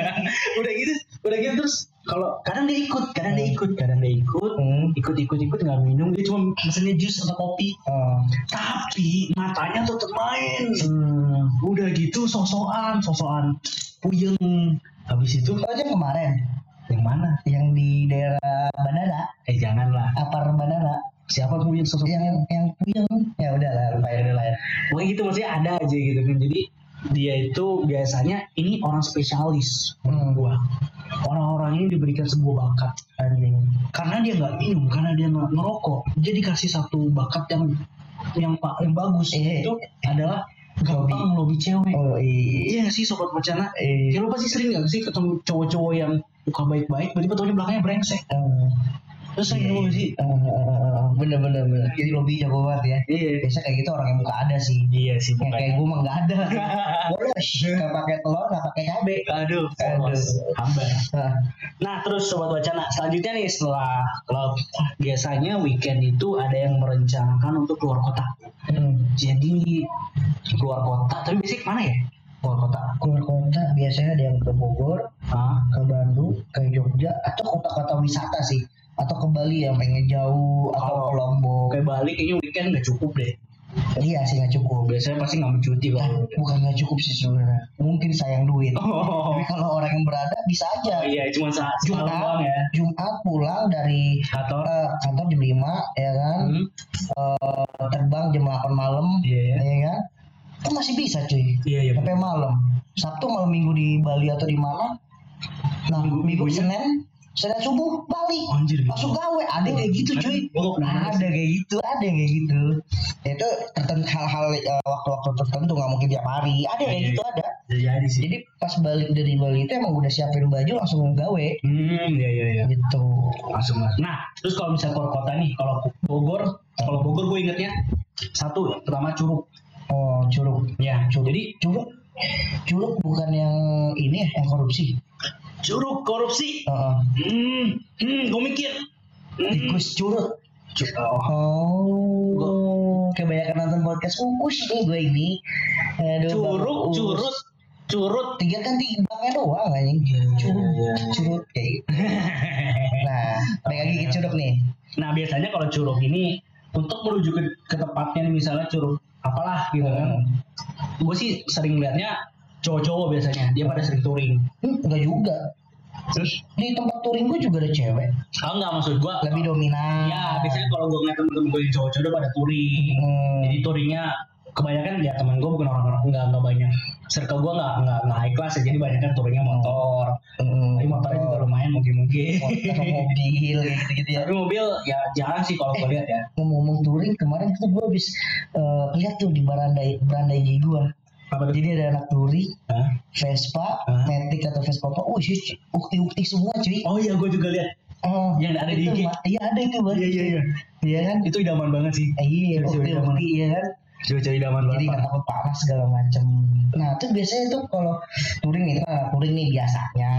[SPEAKER 2] udah gitu udah gitu terus kalau kadang dia ikut kadang dia ikut kadang dia ikut
[SPEAKER 1] Hmm.
[SPEAKER 2] ikut ikut ikut nggak minum dia cuma mesennya jus atau kopi
[SPEAKER 1] Oh.
[SPEAKER 2] tapi matanya tetep main
[SPEAKER 1] Hmm.
[SPEAKER 2] udah gitu sosokan sosokan puyeng habis itu
[SPEAKER 1] Oh, Itu aja kemarin
[SPEAKER 2] yang mana
[SPEAKER 1] yang di daerah Bandara,
[SPEAKER 2] eh janganlah
[SPEAKER 1] Apar Bandara.
[SPEAKER 2] siapa puyeng sosok
[SPEAKER 1] Yang yang puyeng. Ya udah lah, lupain dulu lah ya.
[SPEAKER 2] pokoknya gitu maksudnya ada aja gitu kan jadi dia itu biasanya ini orang spesialis menurut gua orang-orang ini diberikan sebuah bakat
[SPEAKER 1] Anjing.
[SPEAKER 2] karena dia nggak minum karena dia nggak ngerokok dia dikasih satu bakat yang yang pa- yang bagus
[SPEAKER 1] Iya.
[SPEAKER 2] itu adalah gampang lobby cewek
[SPEAKER 1] Oh iya.
[SPEAKER 2] iya nggak sih sobat wacana
[SPEAKER 1] Eh,
[SPEAKER 2] ya lu pasti sering nggak sih ketemu cowok-cowok yang muka baik-baik tiba-tiba taunya belakangnya brengsek
[SPEAKER 1] eh,
[SPEAKER 2] terus saya ngomong sih
[SPEAKER 1] eh, eh, bener bener bener. Jadi lobby jago banget ya.
[SPEAKER 2] iya
[SPEAKER 1] Biasa kayak gitu orang yang nggak ada sih.
[SPEAKER 2] iya sih
[SPEAKER 1] Yang kayak gue mah nggak ada. Boleh, nggak pakai telur, nggak pakai cabe.
[SPEAKER 2] aduh
[SPEAKER 1] Aduh.
[SPEAKER 2] hambar
[SPEAKER 1] Nah,
[SPEAKER 2] Nah terus sobat wacana selanjutnya nih setelah klub ah, biasanya weekend itu ada yang merencanakan untuk keluar kota.
[SPEAKER 1] hmm,
[SPEAKER 2] Jadi keluar kota tapi basic mana ya? Keluar kota.
[SPEAKER 1] keluar kota biasanya ada yang ke Bogor,
[SPEAKER 2] Hah?
[SPEAKER 1] ke Bandung, ke Jogja, atau kota-kota wisata sih. Atau ke Bali yang pengen jauh, atau ke Lombok.
[SPEAKER 2] Oke balik kayaknya weekend nggak cukup deh.
[SPEAKER 1] Iya sih nggak cukup.
[SPEAKER 2] Biasanya pasti nggak mencuti
[SPEAKER 1] Nah,
[SPEAKER 2] kalau.
[SPEAKER 1] bukan nggak cukup sih sebenarnya. Mungkin sayang duit.
[SPEAKER 2] Oh
[SPEAKER 1] Tapi kalau orang yang berada bisa aja.
[SPEAKER 2] iya cuma saat cuma
[SPEAKER 1] Jumat,
[SPEAKER 2] doang ya.
[SPEAKER 1] Jumat pulang dari
[SPEAKER 2] Kantor.
[SPEAKER 1] eh, kantor jam 5 ya kan
[SPEAKER 2] Hmm.
[SPEAKER 1] terbang jam 8 malam
[SPEAKER 2] Iya, iya.
[SPEAKER 1] ya kan itu masih bisa cuy
[SPEAKER 2] Iya iya.
[SPEAKER 1] sampai malam Sabtu malam minggu di Bali atau di mana nah
[SPEAKER 2] Minggu- ya?
[SPEAKER 1] minggu
[SPEAKER 2] minggunya?
[SPEAKER 1] Senin Senin subuh balik
[SPEAKER 2] Anjir, gitu.
[SPEAKER 1] langsung gawe ada yang kayak gitu cuy
[SPEAKER 2] Gua nggak pernah
[SPEAKER 1] ada kayak gitu ada yang kayak gitu itu tertentu hal-hal eh, waktu-waktu tertentu nggak mungkin tiap hari ada yang kayak
[SPEAKER 2] Iya,
[SPEAKER 1] gitu ada
[SPEAKER 2] Jadi sih.
[SPEAKER 1] jadi pas balik dari Bali itu emang udah siapin baju langsung gawe
[SPEAKER 2] Hmm iya iya iya.
[SPEAKER 1] gitu
[SPEAKER 2] langsung lah. Nah, terus kalau misalnya keluar kota nih, kalau Bogor, kalau Bogor gue ingetnya satu, pertama Curug.
[SPEAKER 1] oh curug
[SPEAKER 2] Ya, Curug. Jadi
[SPEAKER 1] Curug Curug bukan yang ini ya, yang korupsi.
[SPEAKER 2] Curug korupsi.
[SPEAKER 1] Heeh.
[SPEAKER 2] Hmm, hmm, gue mikir. Hmm.
[SPEAKER 1] Tikus curut.
[SPEAKER 2] Cu- oh,
[SPEAKER 1] Oh. Kebanyakan nonton podcast Ukus nih gue ini.
[SPEAKER 2] Curug,
[SPEAKER 1] Aduh,
[SPEAKER 2] Iya,
[SPEAKER 1] Bang Uus.
[SPEAKER 2] curut, curut.
[SPEAKER 1] Tiga kan timbangnya doang anjing. Curug, curut kayak gitu. Nah, balik lagi ke curug nih.
[SPEAKER 2] Nah, biasanya kalau Curug ini untuk menuju ke, ke tempatnya nih, misalnya Curug apalah gitu kan. Gue sih sering liatnya cowok-cowok biasanya, dia pada sering touring.
[SPEAKER 1] Hmm, enggak juga.
[SPEAKER 2] Terus?
[SPEAKER 1] Di tempat touring gue juga ada cewek.
[SPEAKER 2] Ah enggak maksud gue.
[SPEAKER 1] Lebih dominan.
[SPEAKER 2] Ya, biasanya kalau gue ngeliat temen-temen gue yang cowok-cowok udah pada touring.
[SPEAKER 1] Hmm.
[SPEAKER 2] jadi touringnya kebanyakan ya teman gue bukan orang-orang nggak nggak banyak circle gue nggak nggak nggak high class ya jadi banyak kan touringnya motor
[SPEAKER 1] Hmm.
[SPEAKER 2] tapi motornya juga lumayan mungkin mungkin
[SPEAKER 1] Motor, mobil gitu-gitu ya.
[SPEAKER 2] tapi mobil ya jarang sih kalau gue lihat ya
[SPEAKER 1] ngomong-ngomong touring kemarin tuh gue habis eh, lihat tuh di barandai barandai IG gue
[SPEAKER 2] apa tuh
[SPEAKER 1] jadi ada anak touring
[SPEAKER 2] Hah?
[SPEAKER 1] Vespa,
[SPEAKER 2] Hah?
[SPEAKER 1] Matic atau Vespa apa? Oh, cuy, ukti-ukti semua cuy.
[SPEAKER 2] oh iya gue juga lihat
[SPEAKER 1] Oh,
[SPEAKER 2] yang ada di
[SPEAKER 1] itu,
[SPEAKER 2] IG.
[SPEAKER 1] Ma- Iya ada itu banget.
[SPEAKER 2] Iya, iya, iya.
[SPEAKER 1] Iya kan?
[SPEAKER 2] itu idaman banget sih
[SPEAKER 1] Eh, Iya,
[SPEAKER 2] Cewek-cewek zaman.
[SPEAKER 1] ukti-ukti iya kan?
[SPEAKER 2] cewek-cewek idaman
[SPEAKER 1] Jadi nggak
[SPEAKER 2] banget
[SPEAKER 1] takut panas segala macam. Nah, itu biasanya tuh kalau touring itu kan touring nih biasanya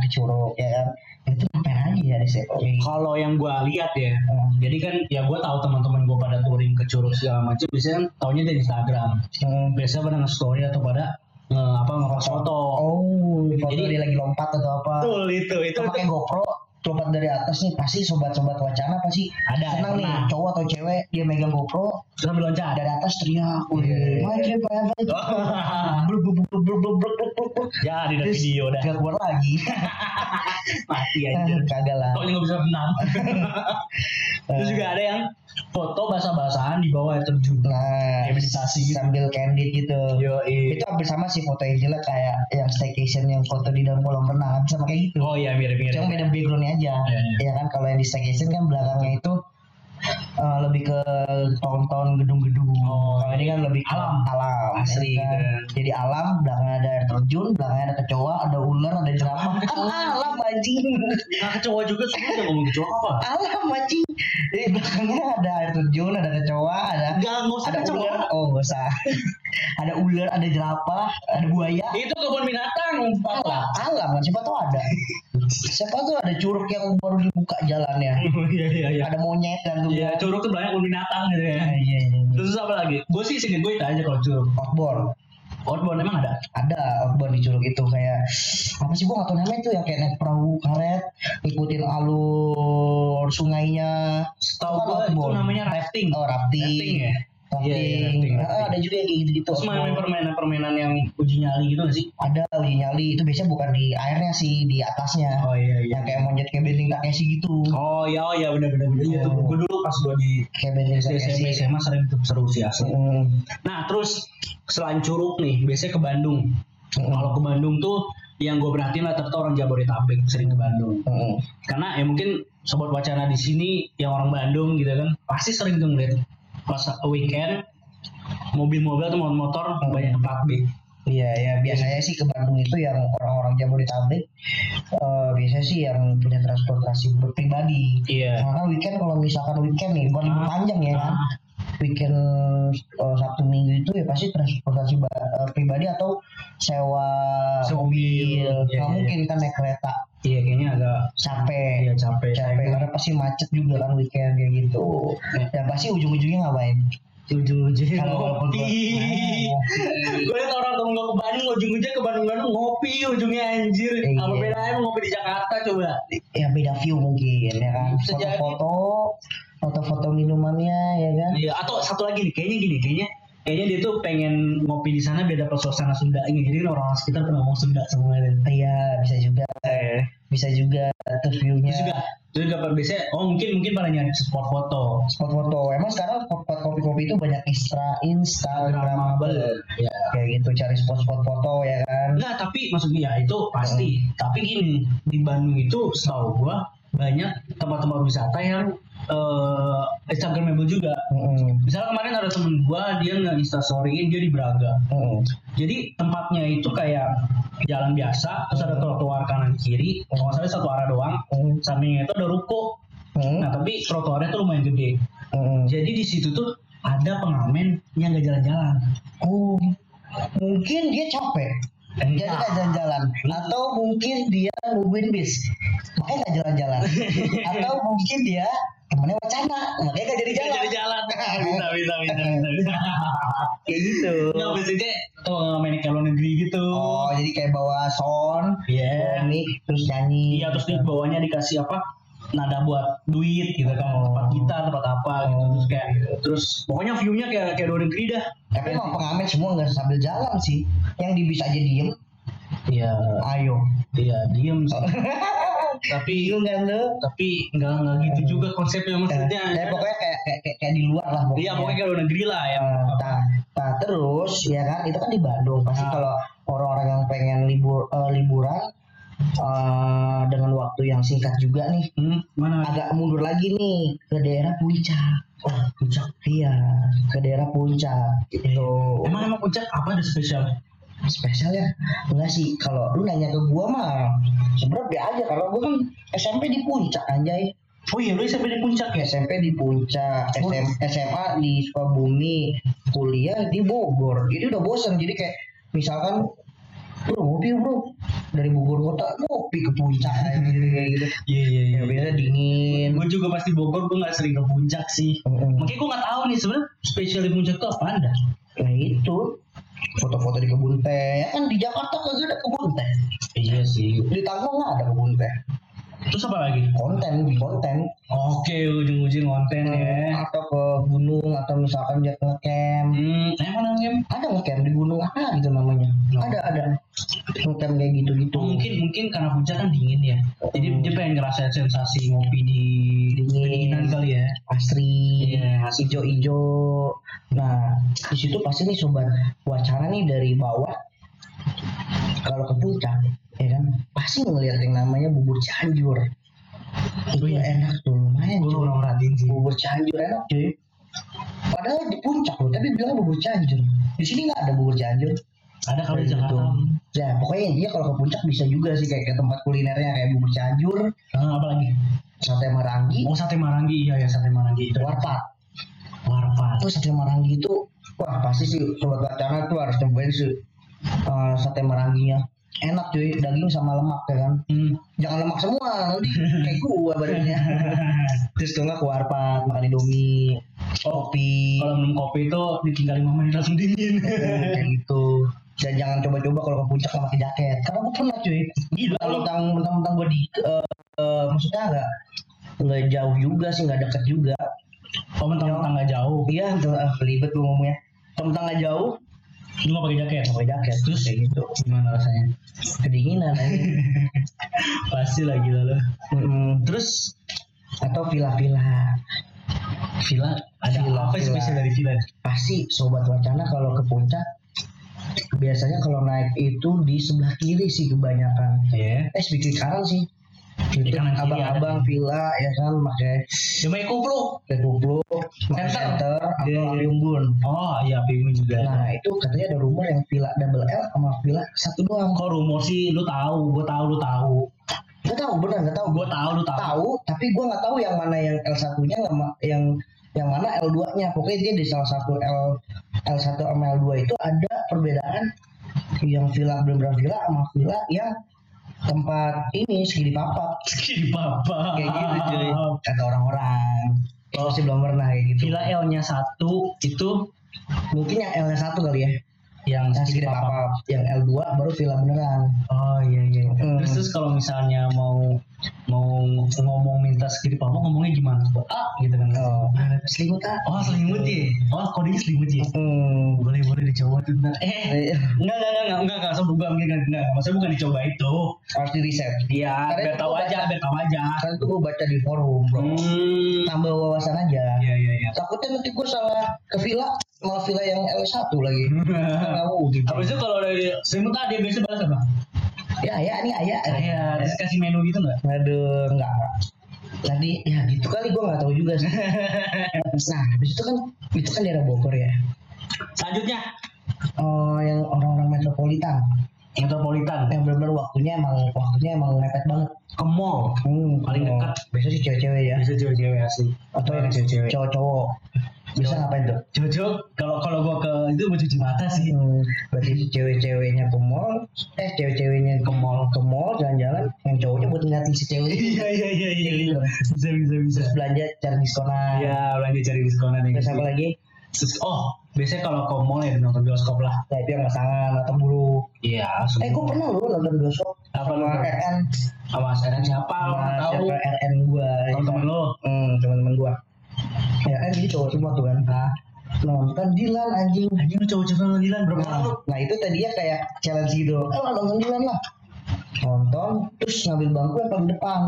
[SPEAKER 1] ke Curug ya kan. Itu ngapain aja ya di situ?
[SPEAKER 2] kan, kalau yang gue lihat ya
[SPEAKER 1] Hmm.
[SPEAKER 2] jadi kan ya gue tahu teman-teman gue pada touring ke curug segala macam biasanya kan taunya dari Instagram
[SPEAKER 1] Hmm.
[SPEAKER 2] biasanya pada nge-story atau pada nge- apa ngepost foto
[SPEAKER 1] Oh, foto
[SPEAKER 2] Jadi-
[SPEAKER 1] dia lagi lompat atau apa?
[SPEAKER 2] betul itu itu,
[SPEAKER 1] itu
[SPEAKER 2] itu.
[SPEAKER 1] pakai GoPro lompat dari atas nih pasti sobat-sobat wacana pasti
[SPEAKER 2] Ada,
[SPEAKER 1] senang nih
[SPEAKER 2] pernah.
[SPEAKER 1] cowok atau cewek dia megang GoPro
[SPEAKER 2] sambil loncat
[SPEAKER 1] dari atas teriak
[SPEAKER 2] Iya.
[SPEAKER 1] wih my trip forever blub blub blub blub blub blub blub blub blub
[SPEAKER 2] Ya, di dalam
[SPEAKER 1] Terus
[SPEAKER 2] video dah.
[SPEAKER 1] gak keluar lagi
[SPEAKER 2] Mati aja.
[SPEAKER 1] kagak lah
[SPEAKER 2] Pokoknya nggak bisa berenang. Terus juga ada yang foto bahasa-bahasaan di bawah air terjun.
[SPEAKER 1] nah
[SPEAKER 2] Kayak meditasi gitu.
[SPEAKER 1] sambil candid gitu
[SPEAKER 2] Yo,
[SPEAKER 1] itu hampir sama sih foto yang jelek kayak yang staycation yang foto di dalam kolam renang hampir sama kayak gitu
[SPEAKER 2] Oh iya, mirip-mirip.
[SPEAKER 1] cuma beda backgroundnya aja
[SPEAKER 2] Iya, iya.
[SPEAKER 1] ya kan kalau yang di staycation kan belakangnya itu eh, lebih ke tonton gedung-gedung.
[SPEAKER 2] Oh,
[SPEAKER 1] Kalau ini kan lebih ke
[SPEAKER 2] alam.
[SPEAKER 1] alam,
[SPEAKER 2] Asri
[SPEAKER 1] ya
[SPEAKER 2] gitu ya.
[SPEAKER 1] Jadi alam, belakangnya ada air terjun, belakangnya ada kecoa, ada ular, ada jerapah. alam anjing,
[SPEAKER 2] Nah, kecoa juga semua udah ngomong kecoa apa?
[SPEAKER 1] alam anjing. Jadi belakangnya ada air terjun, ada kecoa, ada
[SPEAKER 2] Enggak, enggak usah kan,
[SPEAKER 1] ada
[SPEAKER 2] kecoa.
[SPEAKER 1] ular. Oh, nggak usah. ada ular, ada jerapah, ada buaya.
[SPEAKER 2] Itu kebun binatang,
[SPEAKER 1] Alam,
[SPEAKER 2] Pak.
[SPEAKER 1] alam kan siapa tahu ada. siapa tahu ada curug yang baru dibuka jalannya.
[SPEAKER 2] Iya, iya, iya.
[SPEAKER 1] Ada monyet dan tuh.
[SPEAKER 2] Iya, curug tuh banyak kebun binatang gitu ya.
[SPEAKER 1] iya, iya. iya.
[SPEAKER 2] Terus apa lagi? Gue sih singkat gue itu aja kalau curug.
[SPEAKER 1] Outbound.
[SPEAKER 2] Outbound emang ada?
[SPEAKER 1] ada outbound di Curug itu kayak apa sih gua nggak tahu namanya itu yang kayak naik perahu karet ngikutin alur sungainya
[SPEAKER 2] Setahu
[SPEAKER 1] Itu kan
[SPEAKER 2] gue itu
[SPEAKER 1] outbound.
[SPEAKER 2] namanya rafting.
[SPEAKER 1] oh rafting
[SPEAKER 2] Rafting ya?
[SPEAKER 1] Rafting.
[SPEAKER 2] Iya, iya, rafting,
[SPEAKER 1] Ah,
[SPEAKER 2] rafting.
[SPEAKER 1] ada juga yang kayak gitu gitu
[SPEAKER 2] Terus main permainan-permainan yang uji nyali gitu gak sih?
[SPEAKER 1] ada uji nyali itu biasanya bukan di airnya sih di atasnya
[SPEAKER 2] iya,
[SPEAKER 1] yang kayak monyet kayak benteng Takeshi gitu
[SPEAKER 2] Oh iya, oh iya benar benar benar. Iya tuh
[SPEAKER 1] Oh.
[SPEAKER 2] gue dulu pas gue di
[SPEAKER 1] kayak benteng
[SPEAKER 2] SD SMP
[SPEAKER 1] Takeshi
[SPEAKER 2] SMA sering tuh seru sih asli.
[SPEAKER 1] Mm,
[SPEAKER 2] Nah terus selain Curug nih, biasanya ke Bandung.
[SPEAKER 1] Mm.
[SPEAKER 2] Kalau ke Bandung tuh yang gue perhatiin rata-rata orang Jabodetabek sering ke Bandung.
[SPEAKER 1] mm.
[SPEAKER 2] Karena ya mungkin sobat wacana di sini yang orang Bandung gitu kan pasti sering tuh ngeliat pas weekend mobil-mobil atau motor-motor banyak ke plat B.
[SPEAKER 1] Iya ya biasanya sih ke Bandung itu yang orang-orang Jabodetabek eh biasanya sih yang punya transportasi pribadi
[SPEAKER 2] Iya.
[SPEAKER 1] Karena weekend kalau misalkan weekend nih, bukan libur
[SPEAKER 2] Ah.
[SPEAKER 1] panjang ya kan.
[SPEAKER 2] Ah.
[SPEAKER 1] Weekend eh, Sabtu Minggu itu ya pasti transportasi ba- eh, pribadi atau sewa,
[SPEAKER 2] Sewa mobil. Iya,
[SPEAKER 1] Nggak
[SPEAKER 2] iya,
[SPEAKER 1] mungkin kan naik kereta
[SPEAKER 2] Iya kayaknya agak
[SPEAKER 1] capek.
[SPEAKER 2] iya capek.
[SPEAKER 1] capek karena pasti macet juga kan weekend kayak gitu.
[SPEAKER 2] Eh.
[SPEAKER 1] Dan pasti ujung-ujungnya ngapain?
[SPEAKER 2] Ujung-ujungnya
[SPEAKER 1] Kalau walaupun gua-
[SPEAKER 2] ngopi.
[SPEAKER 1] Nah,
[SPEAKER 2] Gue liat orang kalau nggak ke Bandung, ujung-ujungnya ke Bandung-Bandung ngopi, ujungnya anjir.
[SPEAKER 1] Iya.
[SPEAKER 2] Apa bedanya ngopi di Jakarta coba?
[SPEAKER 1] ya beda view mungkin ya kan.
[SPEAKER 2] Bisa jadi.
[SPEAKER 1] Foto-foto, foto-foto minumannya ya kan.
[SPEAKER 2] Iya. Atau satu lagi nih, kayaknya gini, kayaknya kayaknya dia tuh pengen ngopi di sana beda pas suasana Sunda ini. Jadi orang sekitar pernah ngomong Sunda semua dan
[SPEAKER 1] Iya bisa juga, bisa juga terus view-nya.
[SPEAKER 2] Terus Iya. juga terus juga pada biasanya, oh mungkin mungkin pada nyari spot foto.
[SPEAKER 1] spot foto emang sekarang tempat kopi-kopi itu banyak instra instagramable
[SPEAKER 2] Ya.
[SPEAKER 1] kayak gitu cari spot-spot foto ya kan
[SPEAKER 2] Enggak, tapi maksudnya ya itu pasti.
[SPEAKER 1] Iya.
[SPEAKER 2] Tapi gini, di Bandung itu setahu gua banyak tempat-tempat wisata yang eh Instagramable juga.
[SPEAKER 1] Mm-mm.
[SPEAKER 2] Misalnya kemarin ada temen gua dia nggak instastoryin dia di Braga.
[SPEAKER 1] Mm-mm.
[SPEAKER 2] Jadi tempatnya itu kayak jalan biasa, terus ada trotoar kanan kiri, kalau nggak salah satu arah doang.
[SPEAKER 1] Mm-mm.
[SPEAKER 2] Sampingnya itu ada ruko.
[SPEAKER 1] Mm-mm.
[SPEAKER 2] Nah tapi trotoarnya tuh lumayan gede.
[SPEAKER 1] Mm-mm.
[SPEAKER 2] Jadi di situ tuh ada pengamen yang nggak jalan-jalan.
[SPEAKER 1] Oh, mungkin dia capek
[SPEAKER 2] Eh,
[SPEAKER 1] jadi nggak jalan-jalan atau mungkin dia nungguin bis makanya nggak jalan-jalan atau mungkin dia temennya wacana makanya nggak jadi jalan
[SPEAKER 2] jalan. bisa, bisa, bisa, bisa. bisa.
[SPEAKER 1] kayak gitu
[SPEAKER 2] Nggak maksudnya kalau ngamen ke luar negeri gitu.
[SPEAKER 1] oh jadi kayak bawa sound
[SPEAKER 2] Iya.
[SPEAKER 1] bawa mic terus nyanyi
[SPEAKER 2] Iya terus di bawahnya dikasih apa nada buat duit gitu kan
[SPEAKER 1] Oh.
[SPEAKER 2] tempat kita tempat apa gitu
[SPEAKER 1] Oh.
[SPEAKER 2] terus kayak terus pokoknya viewnya kayak kayak luar negeri dah
[SPEAKER 1] Tapi emang pengamen semua nggak sambil jalan sih. Yang di bis aja diem.
[SPEAKER 2] iya
[SPEAKER 1] Ayo.
[SPEAKER 2] iya diem sih. tapi
[SPEAKER 1] Bingung kan lu?
[SPEAKER 2] tapi nggak nggak gitu juga konsepnya maksudnya
[SPEAKER 1] Ya, pokoknya kayak, kayak kayak kayak di luar lah
[SPEAKER 2] iya pokoknya kayak luar negeri lah ya
[SPEAKER 1] Eh, Nah, nah, terus ya kan itu kan di Bandung pasti
[SPEAKER 2] Ah.
[SPEAKER 1] kalau orang-orang yang pengen libur eh, liburan eh, dengan waktu yang singkat juga nih
[SPEAKER 2] hmm, mana
[SPEAKER 1] agak mundur lagi nih ke daerah puncak
[SPEAKER 2] oh, puncak
[SPEAKER 1] iya ke daerah puncak gitu
[SPEAKER 2] emang emang puncak apa ada spesial
[SPEAKER 1] spesial ya enggak sih kalau lu nanya ke gua mah sebenernya dia aja kalau gua kan SMP di puncak anjay
[SPEAKER 2] oh iya lu sampai di puncak ya
[SPEAKER 1] SMP di puncak
[SPEAKER 2] Oh.
[SPEAKER 1] SM SMA di Sukabumi kuliah di Bogor jadi udah bosen jadi kayak misalkan bro ngopi bro dari Bogor kota ngopi ke puncak aja gitu kayak gitu
[SPEAKER 2] iya iya
[SPEAKER 1] ya biasanya dingin
[SPEAKER 2] gue juga pasti Bogor gue nggak sering ke puncak sih
[SPEAKER 1] Mm-mm.
[SPEAKER 2] makanya gue nggak tahu nih sebenarnya spesial di puncak tuh apa anda
[SPEAKER 1] nah itu foto-foto di kebun teh ya kan di Jakarta kagak ada kebun teh
[SPEAKER 2] iya sih
[SPEAKER 1] di Tangerang nggak ada kebun teh
[SPEAKER 2] terus apa lagi
[SPEAKER 1] konten konten
[SPEAKER 2] oke ujung-ujung konten ya
[SPEAKER 1] atau ke gunung atau misalkan dia ke camp
[SPEAKER 2] hmm emang namanya
[SPEAKER 1] ada ngecamp di gunung apa gitu namanya ada ada ngecamp kayak gitu gitu
[SPEAKER 2] Oh, mungkin mungkin karena puncak kan dingin ya jadi dia pengen ngerasain sensasi ngopi di
[SPEAKER 1] Dingin.
[SPEAKER 2] dinginan kali ya
[SPEAKER 1] asri
[SPEAKER 2] Iya, asri.
[SPEAKER 1] ijo-ijo nah di situ pasti nih sobat wacana nih dari bawah kalau ke puncak ya kan pasti ngeliat yang namanya bubur cianjur itu enak tuh lumayan lumayan
[SPEAKER 2] Gue
[SPEAKER 1] cuy.
[SPEAKER 2] kurang merhatiin sih.
[SPEAKER 1] bubur cianjur enak cuy padahal di puncak loh tapi bilang bubur cianjur di sini nggak ada bubur cianjur
[SPEAKER 2] Ada kalau di
[SPEAKER 1] Kayak gitu.
[SPEAKER 2] Jakarta.
[SPEAKER 1] ya pokoknya dia kalau ke puncak bisa juga sih kayak ke tempat kulinernya kayak bubur cianjur
[SPEAKER 2] Nah, apa lagi?
[SPEAKER 1] sate marangi
[SPEAKER 2] Oh sate marangi iya ya sate marangi itu.
[SPEAKER 1] warpat
[SPEAKER 2] Warpat.
[SPEAKER 1] tuh sate marangi itu wah pasti sih sobat wacana tuh harus cobain sih eh, sate maranginya enak cuy daging sama lemak ya kan
[SPEAKER 2] Hmm.
[SPEAKER 1] jangan lemak semua nanti kayak gua badannya terus tuh nggak ke warpat makan indomie kopi
[SPEAKER 2] Kalau minum kopi itu ditinggal 5 menit langsung dingin.
[SPEAKER 1] kayak gitu dan jangan coba-coba kalau ke puncak nggak pakai jaket karena gue pernah cuy
[SPEAKER 2] Gila lu.
[SPEAKER 1] mentang-mentang mentang-mentang gue di eh, eh, maksudnya nggak nggak jauh juga sih nggak deket juga
[SPEAKER 2] Oh mentang-mentang nggak jauh.
[SPEAKER 1] iya tuh, ah, belibet gue ngomongnya mentang-mentang nggak jauh
[SPEAKER 2] Lu nggak pakai jaket.
[SPEAKER 1] pakai jaket
[SPEAKER 2] Terus
[SPEAKER 1] kayak gitu
[SPEAKER 2] Gimana rasanya?
[SPEAKER 1] kedinginan anjing.
[SPEAKER 2] Pasti lah gila lu.
[SPEAKER 1] Mm-mm.
[SPEAKER 2] Terus
[SPEAKER 1] atau villa-villa
[SPEAKER 2] villa ada
[SPEAKER 1] Villa,
[SPEAKER 2] apa
[SPEAKER 1] villa.
[SPEAKER 2] spesial dari villa?
[SPEAKER 1] pasti sobat wacana kalau ke puncak biasanya kalau naik itu di sebelah kiri sih kebanyakan
[SPEAKER 2] Iya.
[SPEAKER 1] eh sedikit kanan sih
[SPEAKER 2] Di
[SPEAKER 1] itu
[SPEAKER 2] kanan kiri
[SPEAKER 1] abang-abang
[SPEAKER 2] ada.
[SPEAKER 1] villa ya kan pakai
[SPEAKER 2] Cuma ikut lu.
[SPEAKER 1] pakai kuplu pakai
[SPEAKER 2] Center.
[SPEAKER 1] center atau
[SPEAKER 2] Iya, iya.
[SPEAKER 1] api unggun
[SPEAKER 2] Oh iya Pimun juga.
[SPEAKER 1] nah itu katanya ada rumor yang villa double L sama villa satu doang
[SPEAKER 2] Kok rumor sih lu tahu, gua tahu lu tahu.
[SPEAKER 1] gak tahu benar gak tahu
[SPEAKER 2] Gua tahu lu tahu.
[SPEAKER 1] tahu tapi gua nggak tahu yang mana yang L satunya sama yang yang mana L 2 nya pokoknya dia di salah satu L L 1 sama L 2 itu ada perbedaan yang villa benar-benar villa sama villa yang tempat ini segini papat
[SPEAKER 2] Skip apa?
[SPEAKER 1] kayak gitu cuy kata orang-orang oh. sih belum pernah kayak gitu
[SPEAKER 2] Villa L-nya satu itu
[SPEAKER 1] mungkin yang L nya satu kali ya
[SPEAKER 2] yang
[SPEAKER 1] yang
[SPEAKER 2] skip
[SPEAKER 1] segede
[SPEAKER 2] apa?
[SPEAKER 1] apa yang L 2 baru villa beneran
[SPEAKER 2] Oh iya iya.
[SPEAKER 1] Hmm.
[SPEAKER 2] Terus, terus kalau misalnya mau mau ngomong minta skip apa ngomongnya gimana? Ah gitu kan.
[SPEAKER 1] oh. selimut ah
[SPEAKER 2] Oh selimut ya? Oh kodenya selimut ya?
[SPEAKER 1] hmm.
[SPEAKER 2] Boleh boleh dicoba tuh ntar. Eh
[SPEAKER 1] Eh,
[SPEAKER 2] enggak enggak enggak enggak enggak sebelum enggak enggak enggak. Maksudnya bukan dicoba itu.
[SPEAKER 1] harus di riset
[SPEAKER 2] Iya
[SPEAKER 1] Karena
[SPEAKER 2] biar
[SPEAKER 1] itu
[SPEAKER 2] tahu
[SPEAKER 1] gua
[SPEAKER 2] aja biar tahu aja.
[SPEAKER 1] karena itu gue baca di forum bro
[SPEAKER 2] Hmm.
[SPEAKER 1] tambah wawasan aja
[SPEAKER 2] Iya iya iya.
[SPEAKER 1] takutnya nanti gue salah ke villa malah villa yang L1 lagi tahu gitu
[SPEAKER 2] Habis itu kalau dari selimut ah dia biasa balas apa?
[SPEAKER 1] ya ya nih ayah
[SPEAKER 2] Saya terus kasih menu gitu enggak?
[SPEAKER 1] aduh enggak enggak tadi ya gitu kali gue nggak tahu juga sih nah habis itu kan itu kan daerah Bogor ya
[SPEAKER 2] Selanjutnya
[SPEAKER 1] oh yang orang-orang metropolitan
[SPEAKER 2] metropolitan
[SPEAKER 1] yang benar-benar waktunya emang waktunya emang mepet banget
[SPEAKER 2] ke mall.
[SPEAKER 1] hmm,
[SPEAKER 2] Paling
[SPEAKER 1] kalau-
[SPEAKER 2] dekat.
[SPEAKER 1] biasanya sih cewek-cewek ya
[SPEAKER 2] Bisa cewek-cewek asli.
[SPEAKER 1] atau yang
[SPEAKER 2] cewek-cewek.
[SPEAKER 1] cowok-cowok bisa
[SPEAKER 2] Cowok.
[SPEAKER 1] ngapain tuh
[SPEAKER 2] Jojo, kalau kalau gua ke itu mau cuci mata sih.
[SPEAKER 1] Hmm, berarti cewek-ceweknya ke mall, eh cewek-ceweknya ke mall, ke mall jalan-jalan, yang cowoknya buat ngeliatin si cewek itu
[SPEAKER 2] Iya iya iya iya. iya. Bisa bisa bisa.
[SPEAKER 1] terus belanja cari diskonan.
[SPEAKER 2] Iya, belanja cari diskonan yang
[SPEAKER 1] Terus
[SPEAKER 2] gitu.
[SPEAKER 1] apa lagi?
[SPEAKER 2] Terus, oh, biasanya kalau ke mall ya nonton bioskop lah.
[SPEAKER 1] Ya itu yang pasangan atau buru.
[SPEAKER 2] Iya,
[SPEAKER 1] Eh, gue pernah loh nonton bioskop
[SPEAKER 2] Apa
[SPEAKER 1] sama
[SPEAKER 2] nonton?
[SPEAKER 1] RN,
[SPEAKER 2] sama sekarang Iya, siapa lo
[SPEAKER 1] sama
[SPEAKER 2] nggak tahu?
[SPEAKER 1] siapa RN gua. ya
[SPEAKER 2] Sama temen
[SPEAKER 1] kan?
[SPEAKER 2] lo.
[SPEAKER 1] Hmm, teman-teman gua. Ya kan jadi cowok semua tuh kan.
[SPEAKER 2] Nah,
[SPEAKER 1] Nonton Dilan anjing.
[SPEAKER 2] anjing lu cowok-cowok lagi lan berapa
[SPEAKER 1] Nah,
[SPEAKER 2] lu?
[SPEAKER 1] nah itu tadinya kayak challenge gitu. Eh, nonton Dilan lah. Nonton, terus ngambil bangku yang paling depan.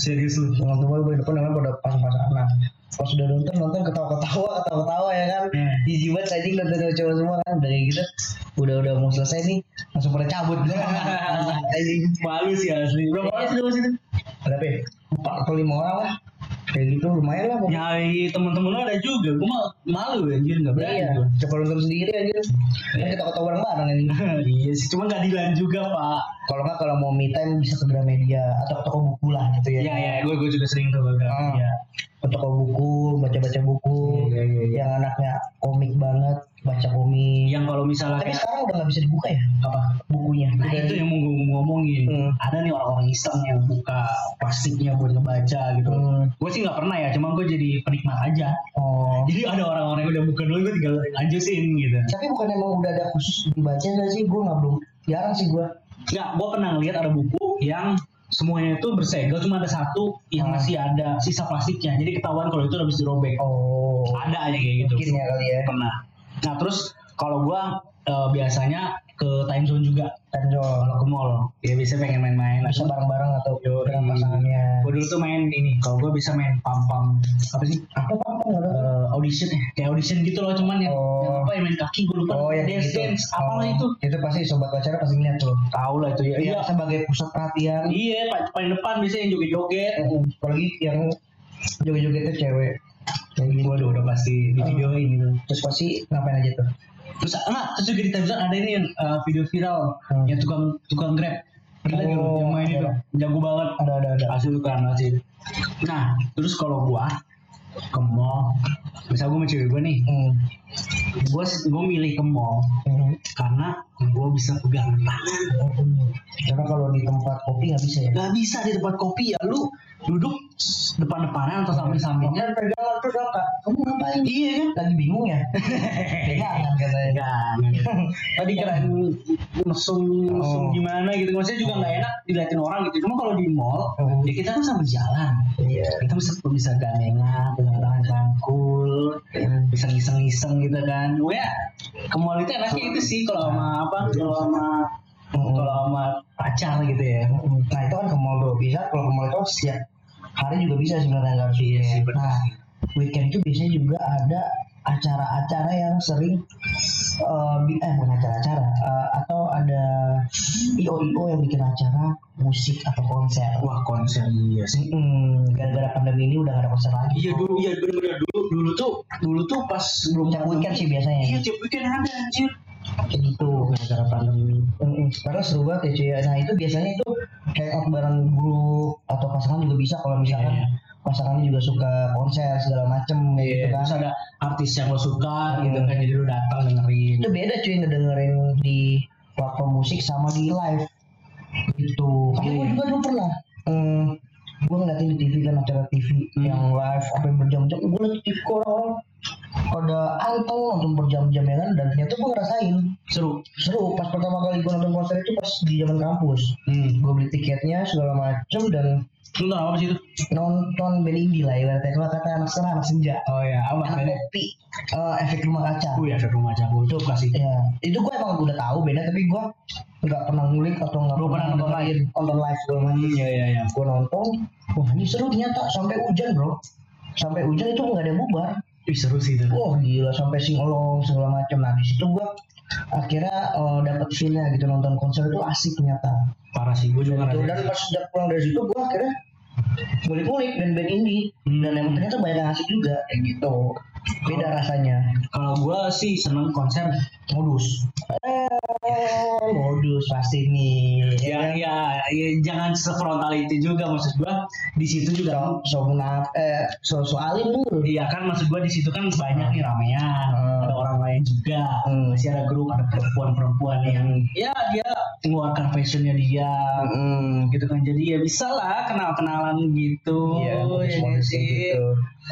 [SPEAKER 2] Serius lu.
[SPEAKER 1] orang tua gue depan namanya pada pasang-pasangan nah pas udah nonton nonton ketawa-ketawa ketawa-ketawa ya kan
[SPEAKER 2] Hmm.
[SPEAKER 1] jijik banget anjing nonton sama cowok semua kan udah kayak gitu udah udah mau selesai nih langsung pada cabut anjing
[SPEAKER 2] Malu sih asli. Berapa orang sih lu situ?
[SPEAKER 1] berapa ya empat atau lima orang lah kayak gitu lumayan lah
[SPEAKER 2] Ya,
[SPEAKER 1] pokoknya
[SPEAKER 2] Nyari temen-temen lu ada juga. Gua mah malu anjir nggak berani
[SPEAKER 1] iya
[SPEAKER 2] gua.
[SPEAKER 1] coba nonton sendiri aja kan kita ketawa bareng-bareng anjing
[SPEAKER 2] iya sih, cuma nggak dilan juga pak.
[SPEAKER 1] kalau nggak kalau mau me time bisa ke Gramedia atau ke toko buku lah gitu ya
[SPEAKER 2] Iya iya, gue gue juga sering tuh kagak.
[SPEAKER 1] Ah.
[SPEAKER 2] Iya.
[SPEAKER 1] ke toko buku baca-baca buku
[SPEAKER 2] Iya, iya, iya.
[SPEAKER 1] yang anaknya komik banget baca komik
[SPEAKER 2] Yang kalau misalnya
[SPEAKER 1] Tapi
[SPEAKER 2] kayak
[SPEAKER 1] sekarang udah nggak bisa dibuka ya
[SPEAKER 2] apa?
[SPEAKER 1] bukunya.
[SPEAKER 2] Nah itu yang mau gue ngomongin.
[SPEAKER 1] Hmm.
[SPEAKER 2] Ada nih orang-orang iseng yang buka plastiknya buat ngebaca gitu.
[SPEAKER 1] Hmm.
[SPEAKER 2] Gue sih nggak pernah ya, cuma gue jadi penikmat aja.
[SPEAKER 1] Oh.
[SPEAKER 2] Jadi ada orang-orang yang udah buka dulu, gue tinggal lanjutin gitu.
[SPEAKER 1] Tapi bukan emang udah ada khusus dibaca nggak sih? Gue nggak belum. Jarang sih gue.
[SPEAKER 2] Nggak, gue pernah ngeliat ada buku yang semuanya itu bersegel, cuma ada satu yang
[SPEAKER 1] Hmm.
[SPEAKER 2] masih ada sisa plastiknya. Jadi ketahuan kalau itu habis dirobek.
[SPEAKER 1] Oh.
[SPEAKER 2] Ada aja kayak gitu.
[SPEAKER 1] Mungkin ya kali ya.
[SPEAKER 2] Pernah. Nah terus kalau gue eh, biasanya ke time zone juga
[SPEAKER 1] Tenjol.
[SPEAKER 2] kalau ke mall ya biasanya pengen main-main
[SPEAKER 1] Bisa bareng-bareng atau
[SPEAKER 2] Yoi.
[SPEAKER 1] dengan pasangannya.
[SPEAKER 2] gue dulu tuh main ini kalau gue bisa main pam pam apa sih
[SPEAKER 1] Apa apa apa nggak ada?
[SPEAKER 2] Eh, audition ya kayak audition gitu loh cuman yang,
[SPEAKER 1] Oh.
[SPEAKER 2] yang apa yang main kaki gue lupa
[SPEAKER 1] Oh ya
[SPEAKER 2] dance
[SPEAKER 1] gitu.
[SPEAKER 2] dance apalah
[SPEAKER 1] Oh,
[SPEAKER 2] itu
[SPEAKER 1] Itu pasti sobat pacar pasti ngeliat tuh.
[SPEAKER 2] tahu lah itu ya iya
[SPEAKER 1] Iya. Sebagai pusat perhatian.
[SPEAKER 2] iya pak paling depan biasanya yang joget joget
[SPEAKER 1] Eh, Apalagi yang joget-jogetnya cewek kayak gitu
[SPEAKER 2] Waduh udah pasti di
[SPEAKER 1] Oh.
[SPEAKER 2] videoin gitu.
[SPEAKER 1] terus pasti ngapain aja tuh
[SPEAKER 2] Terus enggak, terus juga di Tabzan ada ini yang eh, video viral
[SPEAKER 1] Hmm.
[SPEAKER 2] yang tukang tukang grab. Gila
[SPEAKER 1] Oh,
[SPEAKER 2] tuh, yang main
[SPEAKER 1] ada.
[SPEAKER 2] itu jago banget.
[SPEAKER 1] ada ada ada
[SPEAKER 2] Asli tuh keren banget sih. Nah, terus kalau gua ke mall, misal gua sama cewek gua nih,
[SPEAKER 1] hmm.
[SPEAKER 2] gua gua milih ke mall
[SPEAKER 1] Hmm.
[SPEAKER 2] karena gua bisa pegang tangan.
[SPEAKER 1] karena kalau di tempat kopi nggak bisa ya
[SPEAKER 2] Gak bisa di tempat kopi ya lu duduk depan-depanan atau samping-sampingnya.
[SPEAKER 1] pegangan terus apa kamu ngapain
[SPEAKER 2] Iya kan?
[SPEAKER 1] lagi bingung ya pegangan kan katanya
[SPEAKER 2] Enggak. Tadi keren mesum mesum
[SPEAKER 1] Oh.
[SPEAKER 2] gimana gitu. Maksudnya juga nggak enak diliatin orang gitu. Cuma kalau di mall
[SPEAKER 1] Oh.
[SPEAKER 2] ya kita kan sama jalan.
[SPEAKER 1] iya
[SPEAKER 2] Kita bisa bisa gandengan, pegang tangan cangkul, bisa ngiseng-ngiseng gitu kan. Gue ya, ke mall itu enaknya itu sih kalau sama apa? Kalau sama
[SPEAKER 1] Oh.
[SPEAKER 2] kalau sama pacar gitu ya.
[SPEAKER 1] Mm-mm. Nah itu kan ke mall tuh bisa kalau ke mall itu setiap hari juga bisa sebenarnya nggak harus
[SPEAKER 2] Iya sih,
[SPEAKER 1] weekend.
[SPEAKER 2] benar.
[SPEAKER 1] Nah weekend itu biasanya juga ada acara-acara yang sering eh, bi- eh bukan acara-acara eh, atau ada io io yang bikin acara musik atau konser.
[SPEAKER 2] Wah konser iya sih.
[SPEAKER 1] Mm-mm. gara-gara pandemi ini udah gak ada konser lagi.
[SPEAKER 2] Iya dulu, iya bener-bener dulu, dulu tuh, dulu tuh pas belum
[SPEAKER 1] Tiap
[SPEAKER 2] pandemi.
[SPEAKER 1] weekend sih biasanya.
[SPEAKER 2] Iya tiap weekend ada anjir. Iya,
[SPEAKER 1] Kayak gitu.
[SPEAKER 2] Gara-gara pandemi.
[SPEAKER 1] Mm-mm. Karena seru banget ya cuy. Nah itu biasanya itu hangout bareng grup atau pasangan juga bisa kalau misalkan
[SPEAKER 2] Iya, iya.
[SPEAKER 1] pasangannya juga suka konser segala macem kayak gitu
[SPEAKER 2] Iya,
[SPEAKER 1] kan.
[SPEAKER 2] terus ada artis yang lo suka gitu
[SPEAKER 1] Hmm.
[SPEAKER 2] kan jadi lo datang dengerin
[SPEAKER 1] itu beda cuy ngedengerin di platform musik sama di live gitu karena gue
[SPEAKER 2] Iya.
[SPEAKER 1] juga dulu pernah eh gue ngeliatin di TV kan acara TV
[SPEAKER 2] Hmm.
[SPEAKER 1] yang live sampai berjam-jam gue liat TV kok orang-orang pada anteng nonton berjam-jam ya kan dan ternyata gue ngerasain
[SPEAKER 2] seru
[SPEAKER 1] seru pas pertama kali gue nonton konser itu pas di zaman kampus
[SPEAKER 2] hmm.
[SPEAKER 1] gue beli tiketnya segala macem dan
[SPEAKER 2] lu tau apa sih itu
[SPEAKER 1] nonton band indie lah ibaratnya kalau kata anak sekarang anak senja
[SPEAKER 2] oh ya apa
[SPEAKER 1] anak kopi eh, efek rumah kaca
[SPEAKER 2] aku ya rumah jago itu pasti
[SPEAKER 1] Ya, itu gue emang udah tahu beda tapi gue nggak pernah ngulik atau nggak
[SPEAKER 2] Lu pernah nonton
[SPEAKER 1] dengerin, nonton live gue
[SPEAKER 2] ya ya ya
[SPEAKER 1] Gue nonton, wah ini seru ternyata sampai hujan bro. Sampai hujan itu nggak ada yang bubar.
[SPEAKER 2] Ih, seru sih itu
[SPEAKER 1] Wah gila sampai singelong segala macam. Nah di situ gue akhirnya eh, dapet feelnya gitu nonton konser itu asik ternyata.
[SPEAKER 2] parah sih gue juga
[SPEAKER 1] Gitu. Dan
[SPEAKER 2] ngerasain
[SPEAKER 1] pas udah pulang dari situ gue akhirnya ngulik-ngulik band-band indie
[SPEAKER 2] Hmm.
[SPEAKER 1] dan emang ternyata banyak yang asik juga kayak gitu. Beda rasanya.
[SPEAKER 2] kalau gue sih seneng konser modus
[SPEAKER 1] Oh, modus pasti nih.
[SPEAKER 2] ya ya, ya, jangan sefrontal itu juga maksud gue di situ juga
[SPEAKER 1] so so munaf eh so so alim dulu
[SPEAKER 2] Iya kan maksud gua di situ kan banyak nih ramean,
[SPEAKER 1] Hmm.
[SPEAKER 2] ada orang lain juga,
[SPEAKER 1] Hmm.
[SPEAKER 2] masih ada grup ada perempuan-perempuan yang ya dia mengeluarkan fashionnya dia,
[SPEAKER 1] hmm.
[SPEAKER 2] gitu kan jadi ya bisa lah kenal-kenalan gitu,
[SPEAKER 1] Iya,
[SPEAKER 2] ya
[SPEAKER 1] modus-modus
[SPEAKER 2] nggak
[SPEAKER 1] kayak
[SPEAKER 2] sih?
[SPEAKER 1] gitu.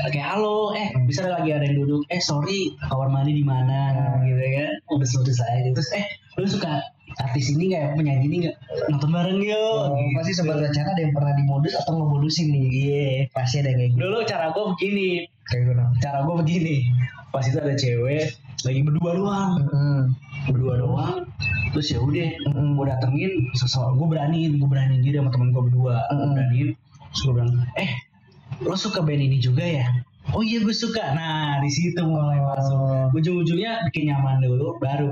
[SPEAKER 2] Oke halo, eh bisa ada lagi ada yang duduk, eh sorry kamar mandi di mana,
[SPEAKER 1] Nah.
[SPEAKER 2] gitu kan, modus-modus aja gitu. terus eh lu suka artis ini nggak, ya? penyanyi ini nggak, nonton bareng yuk,
[SPEAKER 1] Oh,
[SPEAKER 2] gitu.
[SPEAKER 1] pasti sebagai cara ada yang pernah dimodus atau ngemodusin nih iya pasti ada yang kayak gitu
[SPEAKER 2] dulu cara gua begini,
[SPEAKER 1] kayak gitu nah.
[SPEAKER 2] cara gue begini pas itu ada cewek lagi berdua doang
[SPEAKER 1] Mm-mm.
[SPEAKER 2] berdua doang terus ya udah
[SPEAKER 1] Mm-mm.
[SPEAKER 2] gue datengin sesuatu gue beraniin gue beraniin dia sama temen gue berdua gue
[SPEAKER 1] Mm-mm.
[SPEAKER 2] beraniin terus gue bilang eh lo suka band ini juga ya oh iya gue suka nah di situ mulai
[SPEAKER 1] Oh.
[SPEAKER 2] masuk ujung-ujungnya bikin nyaman dulu baru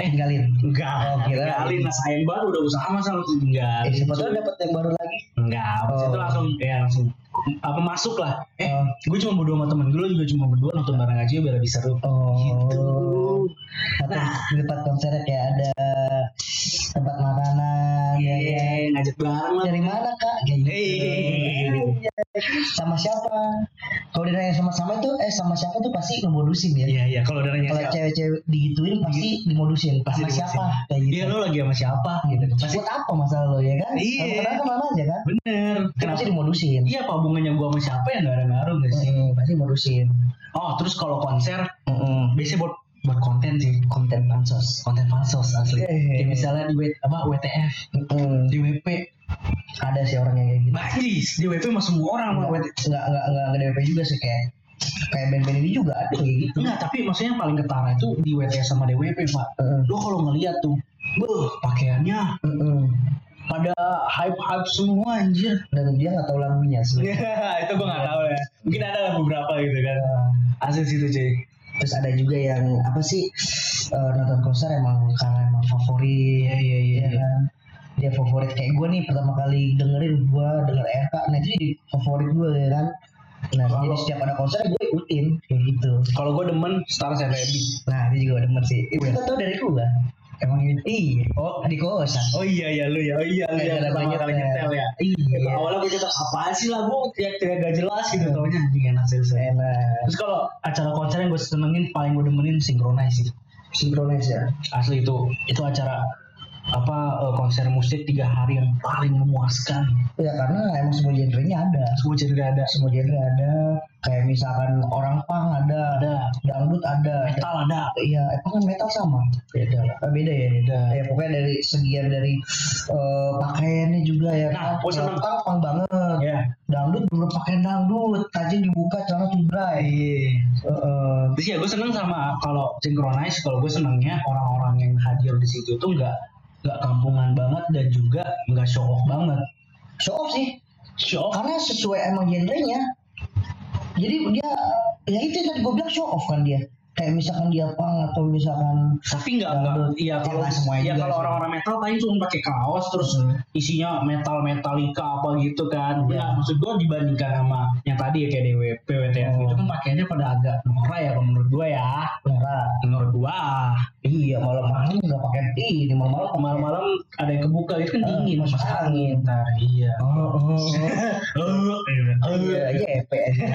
[SPEAKER 1] eh tinggalin
[SPEAKER 2] enggak
[SPEAKER 1] Oh, kira-
[SPEAKER 2] tinggalin lah sayang baru udah usaha masa lo tinggal
[SPEAKER 1] eh siapa tahu dapat yang baru lagi
[SPEAKER 2] gitu. Enggak, abis
[SPEAKER 1] Oh.
[SPEAKER 2] itu langsung ya langsung apa masuk lah. Eh,
[SPEAKER 1] Oh.
[SPEAKER 2] gue cuma berdua sama temen gue juga cuma berdua nonton bareng aja biar lebih seru. Gitu.
[SPEAKER 1] Oh. atau di tempat konsernya kayak ada tempat makanan
[SPEAKER 2] Iya,
[SPEAKER 1] ya
[SPEAKER 2] iya,
[SPEAKER 1] kan?
[SPEAKER 2] ngajak bareng lah.
[SPEAKER 1] dari mana kak kayak gitu
[SPEAKER 2] Hey.
[SPEAKER 1] sama siapa kalau ditanya sama sama itu eh sama siapa tuh pasti ngemodusin ya
[SPEAKER 2] Iya, iya, kalau udah nanya
[SPEAKER 1] kalau
[SPEAKER 2] siapa.
[SPEAKER 1] cewek-cewek digituin Iya. pasti dimodusin
[SPEAKER 2] Pasti
[SPEAKER 1] sama
[SPEAKER 2] dimodusin.
[SPEAKER 1] siapa kayak gitu
[SPEAKER 2] Iya, lo lagi sama siapa gitu. Pasti
[SPEAKER 1] buat apa masalah lo ya kan
[SPEAKER 2] Iya.
[SPEAKER 1] Kamu kenal kemana aja kan
[SPEAKER 2] bener.
[SPEAKER 1] Dia
[SPEAKER 2] Kenapa?
[SPEAKER 1] pasti dimodusin
[SPEAKER 2] Iya, apa hubungannya gue sama siapa ya nggak ada ngaruh gak sih?
[SPEAKER 1] Mm, pasti modusin
[SPEAKER 2] Oh, terus kalau konser
[SPEAKER 1] Mm-mm.
[SPEAKER 2] biasanya buat buat konten sih,
[SPEAKER 1] konten pansos
[SPEAKER 2] konten pansos asli.
[SPEAKER 1] Iya.
[SPEAKER 2] Kayak misalnya di W- apa WTF,
[SPEAKER 1] Mm-mm.
[SPEAKER 2] di WP,
[SPEAKER 1] ada sih orang yang kayak gitu
[SPEAKER 2] Bajis, di WP sama semua orang sama WTF.
[SPEAKER 1] nggak nggak nggak nggak DP juga sih kayak kayak band-band ini juga ada kayak gitu
[SPEAKER 2] Enggak, tapi maksudnya yang paling ketara itu di WTS sama DWP, Pak.
[SPEAKER 1] Heeh.
[SPEAKER 2] Lo kalau ngeliat tuh, beuh, pakaiannya
[SPEAKER 1] Mm-mm.
[SPEAKER 2] pada hype-hype semua anjir.
[SPEAKER 1] dan dia nggak tahu lagunya sih
[SPEAKER 2] itu gue gak tahu ya. Mungkin ada lah beberapa gitu kan. Asli situ, cuy.
[SPEAKER 1] terus ada juga yang apa sih eh, nonton konser emang karena emang favorit
[SPEAKER 2] Iya, iya, iya.
[SPEAKER 1] Iya kan dia favorit kayak gue nih pertama kali dengerin gue denger RK nah itu jadi favorit gue ya kan Nah,
[SPEAKER 2] Kalau-
[SPEAKER 1] jadi setiap ada konser gue ikutin kayak gitu.
[SPEAKER 2] Kalau gue demen Stars and Rabbit.
[SPEAKER 1] Nah, dia juga demen sih. Itu
[SPEAKER 2] Iya.
[SPEAKER 1] tau tau dari gue. Emang ini? Iya. Oh, di kosan.
[SPEAKER 2] Oh iya ya lu ya, oh iya lu yang
[SPEAKER 1] Gara-gara
[SPEAKER 2] pertama kali
[SPEAKER 1] nyetel.
[SPEAKER 2] nyetel ya.
[SPEAKER 1] Iya.
[SPEAKER 2] Awalnya gue cetak apaan sih lagu teriak-teriak gak jelas gitu taunya anjing enak sih. saya.
[SPEAKER 1] Enak.
[SPEAKER 2] Terus kalau acara konser yang gue senengin paling gue demenin sinkronize sih.
[SPEAKER 1] Sinkronis
[SPEAKER 2] Iya.
[SPEAKER 1] ya.
[SPEAKER 2] Asli itu itu acara apa eh, konser musik tiga hari yang paling memuaskan.
[SPEAKER 1] Ya karena emang semua genre-nya ada.
[SPEAKER 2] Semua jadi ada
[SPEAKER 1] Semua genre ada. Kayak misalkan orang pang ada,
[SPEAKER 2] Ada.
[SPEAKER 1] dangdut ada.
[SPEAKER 2] metal ada.
[SPEAKER 1] Iya, emang kan metal sama.
[SPEAKER 2] Beda lah.
[SPEAKER 1] Ah, beda ya
[SPEAKER 2] Beda.
[SPEAKER 1] ya pokoknya dari segian dari eh, pakaiannya juga ya
[SPEAKER 2] Nah,
[SPEAKER 1] kan
[SPEAKER 2] gua seneng.
[SPEAKER 1] Orang pang banget
[SPEAKER 2] Ya.
[SPEAKER 1] dangdut belum pakaian dangdut tajin dibuka celana Eh, cudrai
[SPEAKER 2] Iya.
[SPEAKER 1] Heeh.
[SPEAKER 2] Terus ya gue seneng sama kalau synchronize kalau gue senengnya orang-orang yang hadir di situ tuh nggak nggak kampungan banget dan juga nggak show off banget.
[SPEAKER 1] show off sih
[SPEAKER 2] Show off?
[SPEAKER 1] karena sesuai emang genrenya jadi dia ya itu yang tadi gue bilang show off kan dia kayak misalkan dia pang atau misalkan
[SPEAKER 2] Tapi nggak
[SPEAKER 1] Dangdut.
[SPEAKER 2] nggak. Iya kalau
[SPEAKER 1] Jelas semuanya
[SPEAKER 2] Iya kalau
[SPEAKER 1] juga sih. Hmm.
[SPEAKER 2] orang-orang metal paling cuma pakai kaos terus isinya metal metalika apa gitu kan.
[SPEAKER 1] Iya.
[SPEAKER 2] Nah, maksud gue dibandingkan sama yang tadi ya kayak DWP, WTF
[SPEAKER 1] Oh.
[SPEAKER 2] itu kan pakaiannya pada agak norak ya kalau menurut gue ya.
[SPEAKER 1] merah
[SPEAKER 2] Menurut gue
[SPEAKER 1] iya malam-malam nggak pakai ini malam-malam pakai-
[SPEAKER 2] malam-malam ada yang kebuka itu kan
[SPEAKER 1] Eh,
[SPEAKER 2] dingin
[SPEAKER 1] masuk angin.
[SPEAKER 2] Ntar, iya.
[SPEAKER 1] oh, oh,
[SPEAKER 2] Oh,
[SPEAKER 1] oh. iya iya EPN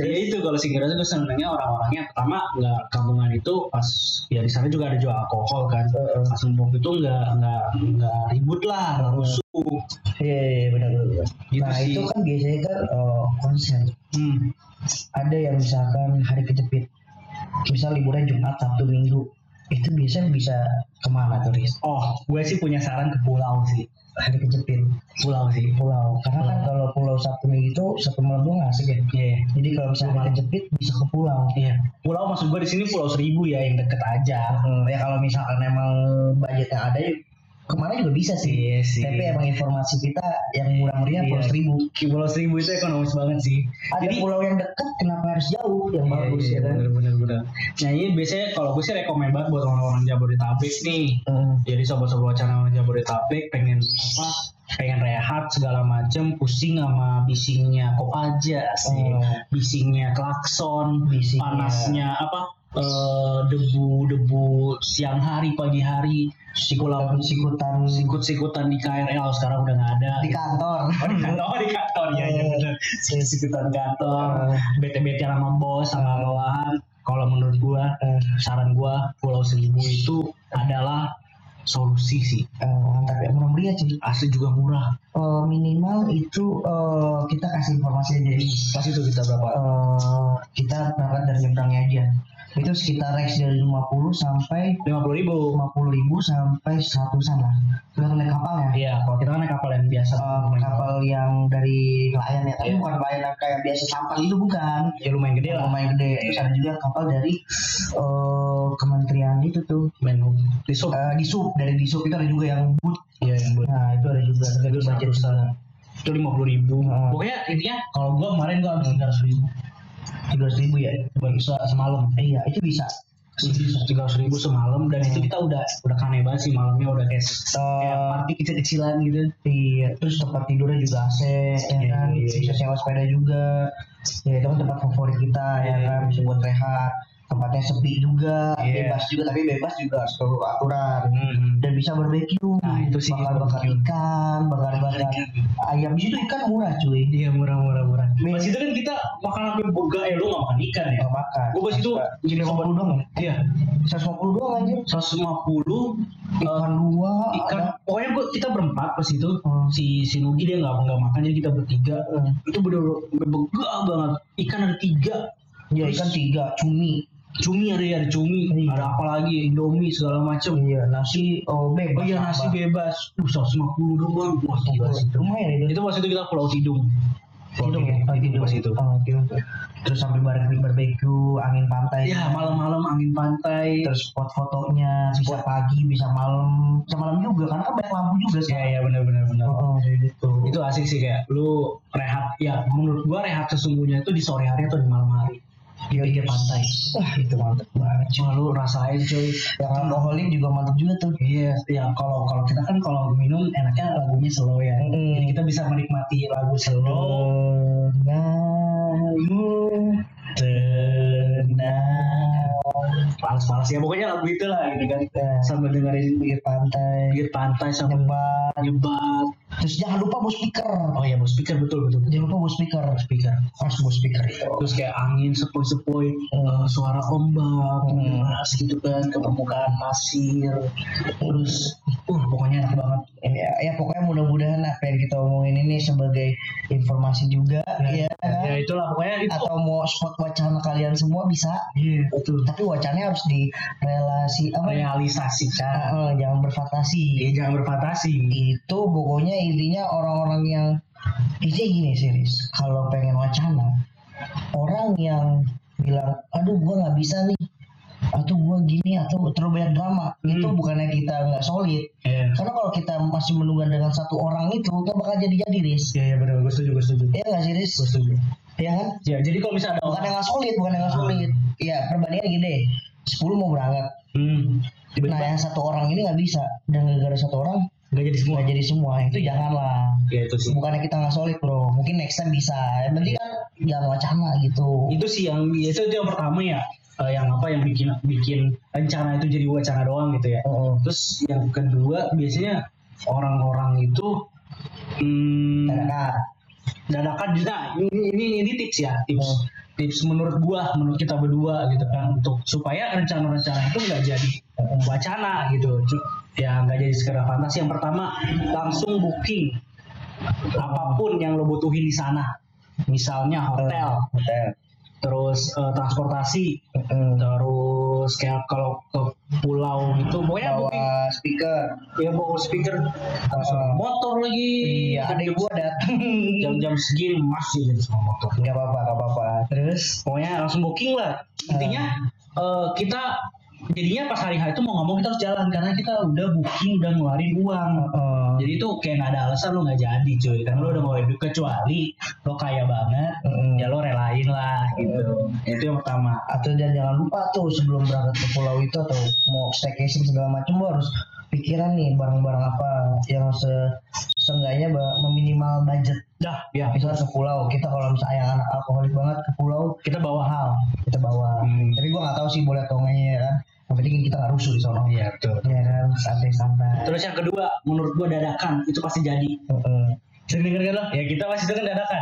[SPEAKER 2] ya itu kalau singkirnya gue senengnya orang-orangnya pertama nggak kampungan itu pas ya di sana juga ada jual alkohol kan
[SPEAKER 1] Heeh.
[SPEAKER 2] pas numpuk itu nggak nggak nggak ribut lah nggak rusuh
[SPEAKER 1] iya iya benar benar
[SPEAKER 2] Gitu
[SPEAKER 1] nah
[SPEAKER 2] sih.
[SPEAKER 1] itu kan biasanya kan eh, konser
[SPEAKER 2] hmm.
[SPEAKER 1] ada yang misalkan hari kejepit misal liburan Jumat Sabtu Minggu itu biasanya bisa kemana tuh Riz?
[SPEAKER 2] oh gue sih punya saran ke pulau sih
[SPEAKER 1] hari kejepit
[SPEAKER 2] pulau sih
[SPEAKER 1] pulau karena kan kalau pulau Sabtu Minggu itu satu malam doang nggak asik ya
[SPEAKER 2] iya
[SPEAKER 1] jadi kalau misalnya hari kejepit bisa ke pulau
[SPEAKER 2] iya pulau maksud gue di sini pulau seribu ya yang deket aja
[SPEAKER 1] Hmm, ya kalau misalkan emang budgetnya ada ya kemana juga bisa sih
[SPEAKER 2] iya sih
[SPEAKER 1] tapi emang informasi kita yang murah meriah pulau
[SPEAKER 2] Iya.
[SPEAKER 1] seribu
[SPEAKER 2] pulau seribu itu ekonomis banget sih
[SPEAKER 1] ada pulau yang dekat kenapa harus jauh yang
[SPEAKER 2] Iya,
[SPEAKER 1] bagus
[SPEAKER 2] iya,
[SPEAKER 1] ya kan
[SPEAKER 2] bener, bener, bener. Nah ini biasanya kalau gue sih rekomend banget buat orang-orang Jabodetabek nih
[SPEAKER 1] Hmm.
[SPEAKER 2] jadi sobat-sobat wacana Jabodetabek pengen apa pengen rehat segala macem pusing sama bisingnya kok aja sih
[SPEAKER 1] Oh.
[SPEAKER 2] bisingnya klakson
[SPEAKER 1] Bisingnya.
[SPEAKER 2] panasnya apa eh, debu-debu siang hari pagi hari sikulam
[SPEAKER 1] sikutan
[SPEAKER 2] sikut-sikutan di KRL sekarang udah nggak ada
[SPEAKER 1] di kantor
[SPEAKER 2] Oh, di kantor, di kantor ya, ya
[SPEAKER 1] Oh.
[SPEAKER 2] benar. Sikutan kantor, bete-bete sama bos, sama
[SPEAKER 1] Oh.
[SPEAKER 2] bawahan. Kalau menurut gua, saran gua Pulau Seribu itu adalah solusi sih.
[SPEAKER 1] Eh, tapi yang murah meriah sih
[SPEAKER 2] Asli juga murah.
[SPEAKER 1] Eh, minimal itu eh, kita kasih informasi dari
[SPEAKER 2] Pas itu kita berapa?
[SPEAKER 1] eh, kita berangkat dari Nyebrangnya aja itu sekitar range dari 50 sampai
[SPEAKER 2] Lima puluh ribu.
[SPEAKER 1] 50 ribu sampai seratusan lah tergantung naik kapal ya
[SPEAKER 2] Iya, kalau kita kan naik kapal yang biasa.
[SPEAKER 1] Eh, kapal yang dari nelayan ya tapi bukan nelayan yang kayak biasa sampan itu bukan
[SPEAKER 2] ya Iya. lumayan gede lah.
[SPEAKER 1] lumayan gede terus ada juga kapal dari eh, kementerian itu tuh
[SPEAKER 2] Main di sub.
[SPEAKER 1] Eh, di sub dari di sub itu ada juga yang boot
[SPEAKER 2] Iya, yang buat.
[SPEAKER 1] nah itu ada juga
[SPEAKER 2] Itu
[SPEAKER 1] tergantung budget juga.
[SPEAKER 2] seratusan. Itu lima puluh ribu.
[SPEAKER 1] Heeh.
[SPEAKER 2] Pokoknya intinya kalau gua kemarin gua habis tiga ratus ribu.
[SPEAKER 1] tiga ribu ya
[SPEAKER 2] Baru se- semalam. Eh,
[SPEAKER 1] iya itu bisa Iya.
[SPEAKER 2] tiga ratus ribu semalam dan itu kita udah udah kangen banget sih malamnya udah kayak
[SPEAKER 1] Ah.
[SPEAKER 2] kayak party kecil-kecilan gitu
[SPEAKER 1] iya terus tempat tidurnya juga AC ya
[SPEAKER 2] Iya,
[SPEAKER 1] kan
[SPEAKER 2] iya, iya.
[SPEAKER 1] bisa sewa sepeda juga ya itu kan tempat favorit kita ya
[SPEAKER 2] Iya.
[SPEAKER 1] kan bisa buat rehat tempatnya sepi juga
[SPEAKER 2] Iya.
[SPEAKER 1] bebas juga tapi bebas juga harus seluruh aturan dan bisa barbeque
[SPEAKER 2] Nah, itu sih.
[SPEAKER 1] bakar bakar ikan bakar bakar ayam di situ ikan murah cuy
[SPEAKER 2] iya murah murah murah
[SPEAKER 1] Nih.
[SPEAKER 2] pas itu kan kita makan sampai boga ya lu nggak makan ikan ya
[SPEAKER 1] nggak makan
[SPEAKER 2] gua pas itu
[SPEAKER 1] jadi lima puluh doang ya
[SPEAKER 2] iya
[SPEAKER 1] seratus lima puluh doang anjir
[SPEAKER 2] 150 eh,
[SPEAKER 1] ikan dua
[SPEAKER 2] ikan
[SPEAKER 1] ada-
[SPEAKER 2] pokoknya gua kita berempat pas itu
[SPEAKER 1] Hmm.
[SPEAKER 2] si si Nugi dia nggak nggak makan jadi kita bertiga
[SPEAKER 1] Hmm.
[SPEAKER 2] itu bener-bener begah banget ikan ada tiga
[SPEAKER 1] ya
[SPEAKER 2] Terus-
[SPEAKER 1] ikan tiga cumi
[SPEAKER 2] cumi ada ada cumi
[SPEAKER 1] Iya.
[SPEAKER 2] ada apa lagi indomie segala macem
[SPEAKER 1] iya nasi oh bebas
[SPEAKER 2] Oh iya nasi
[SPEAKER 1] apa?
[SPEAKER 2] bebas. Uh, 150 doang. Wah, gila sih.
[SPEAKER 1] lumayan itu
[SPEAKER 2] Itu waktu itu kita Pulau Tidung.
[SPEAKER 1] Tidung ya?
[SPEAKER 2] Pulau Tidung pas itu.
[SPEAKER 1] Oh, Tidung. Terus sambil bareng barbeque, angin pantai.
[SPEAKER 2] Ya malam-malam angin pantai.
[SPEAKER 1] Terus spot fotonya bisa pagi, bisa malam, bisa malam juga karena kan banyak lampu juga sih.
[SPEAKER 2] Ya ya benar-benar benar.
[SPEAKER 1] Oh, oh, gitu.
[SPEAKER 2] Itu asik sih kayak lu rehat. Ya menurut gua rehat sesungguhnya itu di sore hari atau di malam hari. dia di pantai wah itu mantep banget cuma lu rasain cuy
[SPEAKER 1] yang alkoholik juga mantap juga tuh
[SPEAKER 2] Iya, ya kalau kalau kita kan kalau minum enaknya lagunya slow ya.
[SPEAKER 1] Mm-mm.
[SPEAKER 2] Jadi kita bisa menikmati lagu slow.
[SPEAKER 1] Denganmu tenang
[SPEAKER 2] Panas-panas ya pokoknya lagu itu lah gitu kan.
[SPEAKER 1] Ya.
[SPEAKER 2] Sambil dengerin pinggir pantai,
[SPEAKER 1] pantai
[SPEAKER 2] pinggir pantai sambil
[SPEAKER 1] nyebat
[SPEAKER 2] nyebat.
[SPEAKER 1] terus jangan lupa bawa speaker
[SPEAKER 2] Oh iya, bos speaker betul betul.
[SPEAKER 1] jangan lupa bawa speaker speaker harus bawa speaker itu
[SPEAKER 2] Terus kayak angin sepoi-sepoi, eh, suara ombak,
[SPEAKER 1] Mm.
[SPEAKER 2] deras gitu kan ke permukaan pasir. Terus, uh pokoknya enak banget.
[SPEAKER 1] ya, ya pokoknya mudah-mudahan apa yang kita omongin ini sebagai informasi juga ya,
[SPEAKER 2] ya itulah pokoknya itu.
[SPEAKER 1] atau mau spot wacana kalian semua bisa
[SPEAKER 2] Iya, betul.
[SPEAKER 1] tapi wacananya harus direlasi apa
[SPEAKER 2] Realisasikan.
[SPEAKER 1] Ah, eh, jangan berfantasi
[SPEAKER 2] Iya, jangan berfantasi.
[SPEAKER 1] itu pokoknya intinya orang-orang yang intinya gini serius kalau pengen wacana orang yang bilang aduh gua nggak bisa nih atau gua gini atau terlalu banyak drama itu
[SPEAKER 2] Hmm.
[SPEAKER 1] bukannya kita nggak solid
[SPEAKER 2] Iya.
[SPEAKER 1] karena kalau kita masih menunggang dengan satu orang itu itu bakal jadi jadi ris
[SPEAKER 2] Iya, iya benar. Gue setuju, gue setuju.
[SPEAKER 1] ya nggak sih ris
[SPEAKER 2] Gue setuju.
[SPEAKER 1] ya kan
[SPEAKER 2] Ya, jadi kalau misalnya ada
[SPEAKER 1] bukan
[SPEAKER 2] orang
[SPEAKER 1] yang nggak solid bukan yang nggak solid ya perbandingan gini deh 10 mau berangkat
[SPEAKER 2] hmm, tiba-tiba
[SPEAKER 1] nah yang satu orang ini nggak bisa dan gara-gara satu orang
[SPEAKER 2] nggak jadi semua.
[SPEAKER 1] nggak jadi semua
[SPEAKER 2] Iya.
[SPEAKER 1] itu janganlah
[SPEAKER 2] Ya itu sih.
[SPEAKER 1] bukannya kita nggak solid bro mungkin next time bisa yang penting kan jangan wacana gitu
[SPEAKER 2] Itu sih yang ya, itu, itu yang pertama ya. Eh, yang apa yang bikin bikin rencana itu jadi wacana doang gitu ya.
[SPEAKER 1] Heeh.
[SPEAKER 2] Terus yang kedua biasanya orang-orang itu hmm,
[SPEAKER 1] Dadakan.
[SPEAKER 2] dadakan nah ini, ini ini tips ya tips
[SPEAKER 1] Hmm.
[SPEAKER 2] tips menurut gua menurut kita berdua gitu kan untuk supaya rencana-rencana itu nggak jadi wacana gitu Cu- ya nggak jadi sekedar fantasi yang pertama langsung booking apapun yang lo butuhin di sana misalnya hotel
[SPEAKER 1] Hmm, hotel Hmm.
[SPEAKER 2] terus eh, transportasi
[SPEAKER 1] Heeh.
[SPEAKER 2] terus kayak kalau ke pulau gitu pokoknya booking
[SPEAKER 1] bawa speaker
[SPEAKER 2] ya bawa speaker
[SPEAKER 1] Heeh.
[SPEAKER 2] motor lagi
[SPEAKER 1] iya adik gua dateng
[SPEAKER 2] jam-jam segini masih jadi sama motor
[SPEAKER 1] nggak apa-apa nggak apa-apa terus
[SPEAKER 2] pokoknya langsung booking lah intinya
[SPEAKER 1] Ah.
[SPEAKER 2] eh, kita jadinya pas hari hari itu mau ngomong kita harus jalan karena kita udah booking udah ngeluarin uang
[SPEAKER 1] Heeh.
[SPEAKER 2] jadi itu kayak nggak ada alasan lo nggak jadi cuy karena lo udah ngeluarin duit kecuali lo kaya banget
[SPEAKER 1] Heeh.
[SPEAKER 2] ya lo relain lah gitu itu yang pertama
[SPEAKER 1] atau dan jangan lupa tuh sebelum berangkat ke pulau itu atau mau staycation segala macam lu harus pikiran nih barang-barang apa yang se seenggaknya ba- meminimal budget
[SPEAKER 2] dah ya
[SPEAKER 1] misalnya ke pulau kita kalau misalnya yang anak alkoholik banget ke pulau
[SPEAKER 2] kita bawa hal
[SPEAKER 1] kita bawa
[SPEAKER 2] Hmm.
[SPEAKER 1] tapi gua nggak tahu sih boleh atau enggaknya ya kan yang penting kita nggak rusuh di sana
[SPEAKER 2] iya betul
[SPEAKER 1] ya kan santai santai
[SPEAKER 2] terus yang kedua menurut gua dadakan itu pasti jadi sering denger kan lo ya kita pasti itu kan dadakan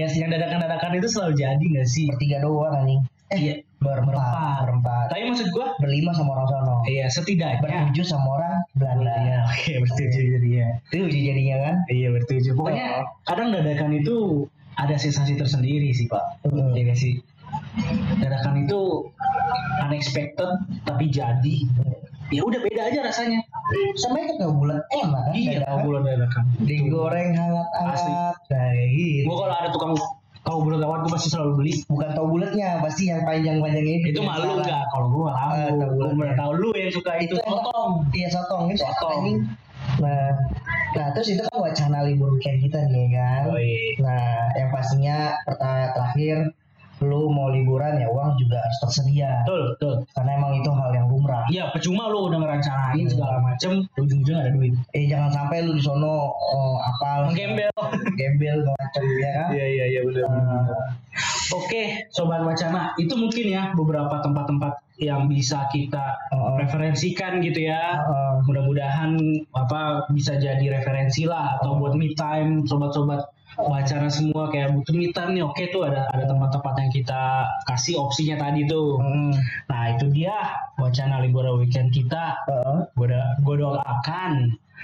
[SPEAKER 2] ya yang dadakan dadakan itu selalu jadi nggak sih
[SPEAKER 1] bertiga doang anjing
[SPEAKER 2] Iya.
[SPEAKER 1] berempat
[SPEAKER 2] Berempat.
[SPEAKER 1] berempat
[SPEAKER 2] tapi maksud gua
[SPEAKER 1] berlima sama orang sono
[SPEAKER 2] Iya setidaknya.
[SPEAKER 1] bertujuh sama orang Belanda
[SPEAKER 2] Iya oke ya. bertujuh jadinya.
[SPEAKER 1] itu jadi jadinya kan
[SPEAKER 2] Iya bertujuh. Pokoknya
[SPEAKER 1] Oh.
[SPEAKER 2] kadang dadakan itu ada sensasi tersendiri sih pak.
[SPEAKER 1] Mm.
[SPEAKER 2] Iya nggak sih. Dadakan itu unexpected tapi jadi. Ya udah beda aja rasanya.
[SPEAKER 1] sama itu nggak bulan enak kan
[SPEAKER 2] Iya
[SPEAKER 1] dadakan.
[SPEAKER 2] kalau bulan dadakan.
[SPEAKER 1] digoreng hangat
[SPEAKER 2] Asli.
[SPEAKER 1] hangat nah, kayak gitu.
[SPEAKER 2] Gue kalau ada tukang kalau bulan lewat gue pasti selalu beli.
[SPEAKER 1] bukan tahu bulatnya pasti yang panjang panjang itu
[SPEAKER 2] Itu malu
[SPEAKER 1] Iya, Salah.
[SPEAKER 2] nggak? Kalau gue malu.
[SPEAKER 1] Ah, tahu
[SPEAKER 2] Gue
[SPEAKER 1] bulatnya.
[SPEAKER 2] udah tahu lu yang suka itu.
[SPEAKER 1] enak.
[SPEAKER 2] Potong.
[SPEAKER 1] iya sotong itu enak,
[SPEAKER 2] Sotong.
[SPEAKER 1] anjing. nah nah terus itu kan wacana libur weekend kita nih ya kan
[SPEAKER 2] Yoi.
[SPEAKER 1] nah yang pastinya pertanyaan terakhir lu mau liburan ya uang juga harus tersedia
[SPEAKER 2] Betul betul.
[SPEAKER 1] karena emang itu hal yang lumrah
[SPEAKER 2] Iya percuma lu udah ngerencanain
[SPEAKER 1] Hmm.
[SPEAKER 2] segala macem ujung-ujungnya nggak ada duit.
[SPEAKER 1] eh jangan sampai lu di sono eh, apal
[SPEAKER 2] Gembel.
[SPEAKER 1] gembel macam ya kan
[SPEAKER 2] Iya iya iya benar.
[SPEAKER 1] Nah,
[SPEAKER 2] Oke, sobat wacana, itu mungkin ya beberapa tempat-tempat yang bisa kita
[SPEAKER 1] Oh, oh.
[SPEAKER 2] referensikan gitu ya.
[SPEAKER 1] eh,
[SPEAKER 2] Mudah-mudahan apa bisa jadi referensi lah atau buat me time sobat-sobat wacana semua kayak butuh me time nih. Oke tuh ada ada tempat-tempat yang kita kasih opsinya tadi tuh.
[SPEAKER 1] mm,
[SPEAKER 2] Nah, itu dia wacana liburan weekend kita.
[SPEAKER 1] eh,
[SPEAKER 2] Gue doakan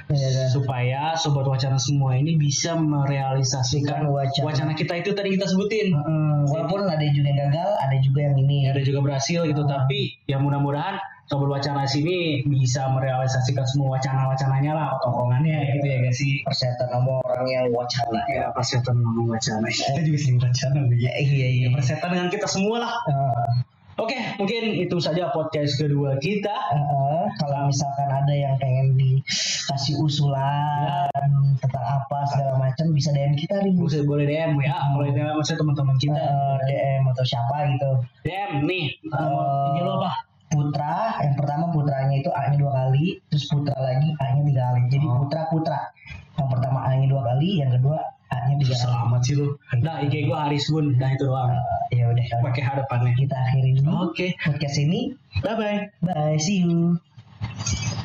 [SPEAKER 1] ya
[SPEAKER 2] iya.
[SPEAKER 1] kan?
[SPEAKER 2] supaya sobat wacana semua ini bisa merealisasikan
[SPEAKER 1] Bukan wacana.
[SPEAKER 2] wacana. kita itu tadi kita sebutin.
[SPEAKER 1] Mm, walaupun ada juga yang gagal ada juga yang ini
[SPEAKER 2] ada juga berhasil gitu tapi ya mudah-mudahan sobat wacana sini bisa merealisasikan semua wacana-wacananya lah tongkongannya gitu ya guys sih
[SPEAKER 1] persetan sama orang yang wacana
[SPEAKER 2] ya persetan ngomong wacana kita juga sering wacana nih
[SPEAKER 1] ya iya iya
[SPEAKER 2] ya persetan dengan kita semua lah
[SPEAKER 1] Eh,
[SPEAKER 2] oke mungkin itu saja podcast kedua kita
[SPEAKER 1] eh, eh, kalau misalkan ada ada yang pengen dikasih usulan tentang apa segala macam bisa DM kita nih
[SPEAKER 2] Bisa boleh DM ya, boleh DM maksudnya teman-teman kita.
[SPEAKER 1] Eh, DM atau siapa gitu
[SPEAKER 2] DM nih,
[SPEAKER 1] Eh,
[SPEAKER 2] ini lo apa?
[SPEAKER 1] Putra, yang pertama putranya itu A-nya dua kali, terus putra lagi A-nya tiga kali. Jadi
[SPEAKER 2] Oh.
[SPEAKER 1] putra-putra. Yang pertama A-nya dua kali, yang kedua A-nya tiga kali.
[SPEAKER 2] Selamat sih lu. Dah IG Nah, gua Haris Gun, dah itu doang.
[SPEAKER 1] Eh, ya udah kalau
[SPEAKER 2] Pakai harapannya.
[SPEAKER 1] kita akhiri dulu
[SPEAKER 2] Oke,
[SPEAKER 1] podcast ini.
[SPEAKER 2] bye bye.
[SPEAKER 1] Bye, see you.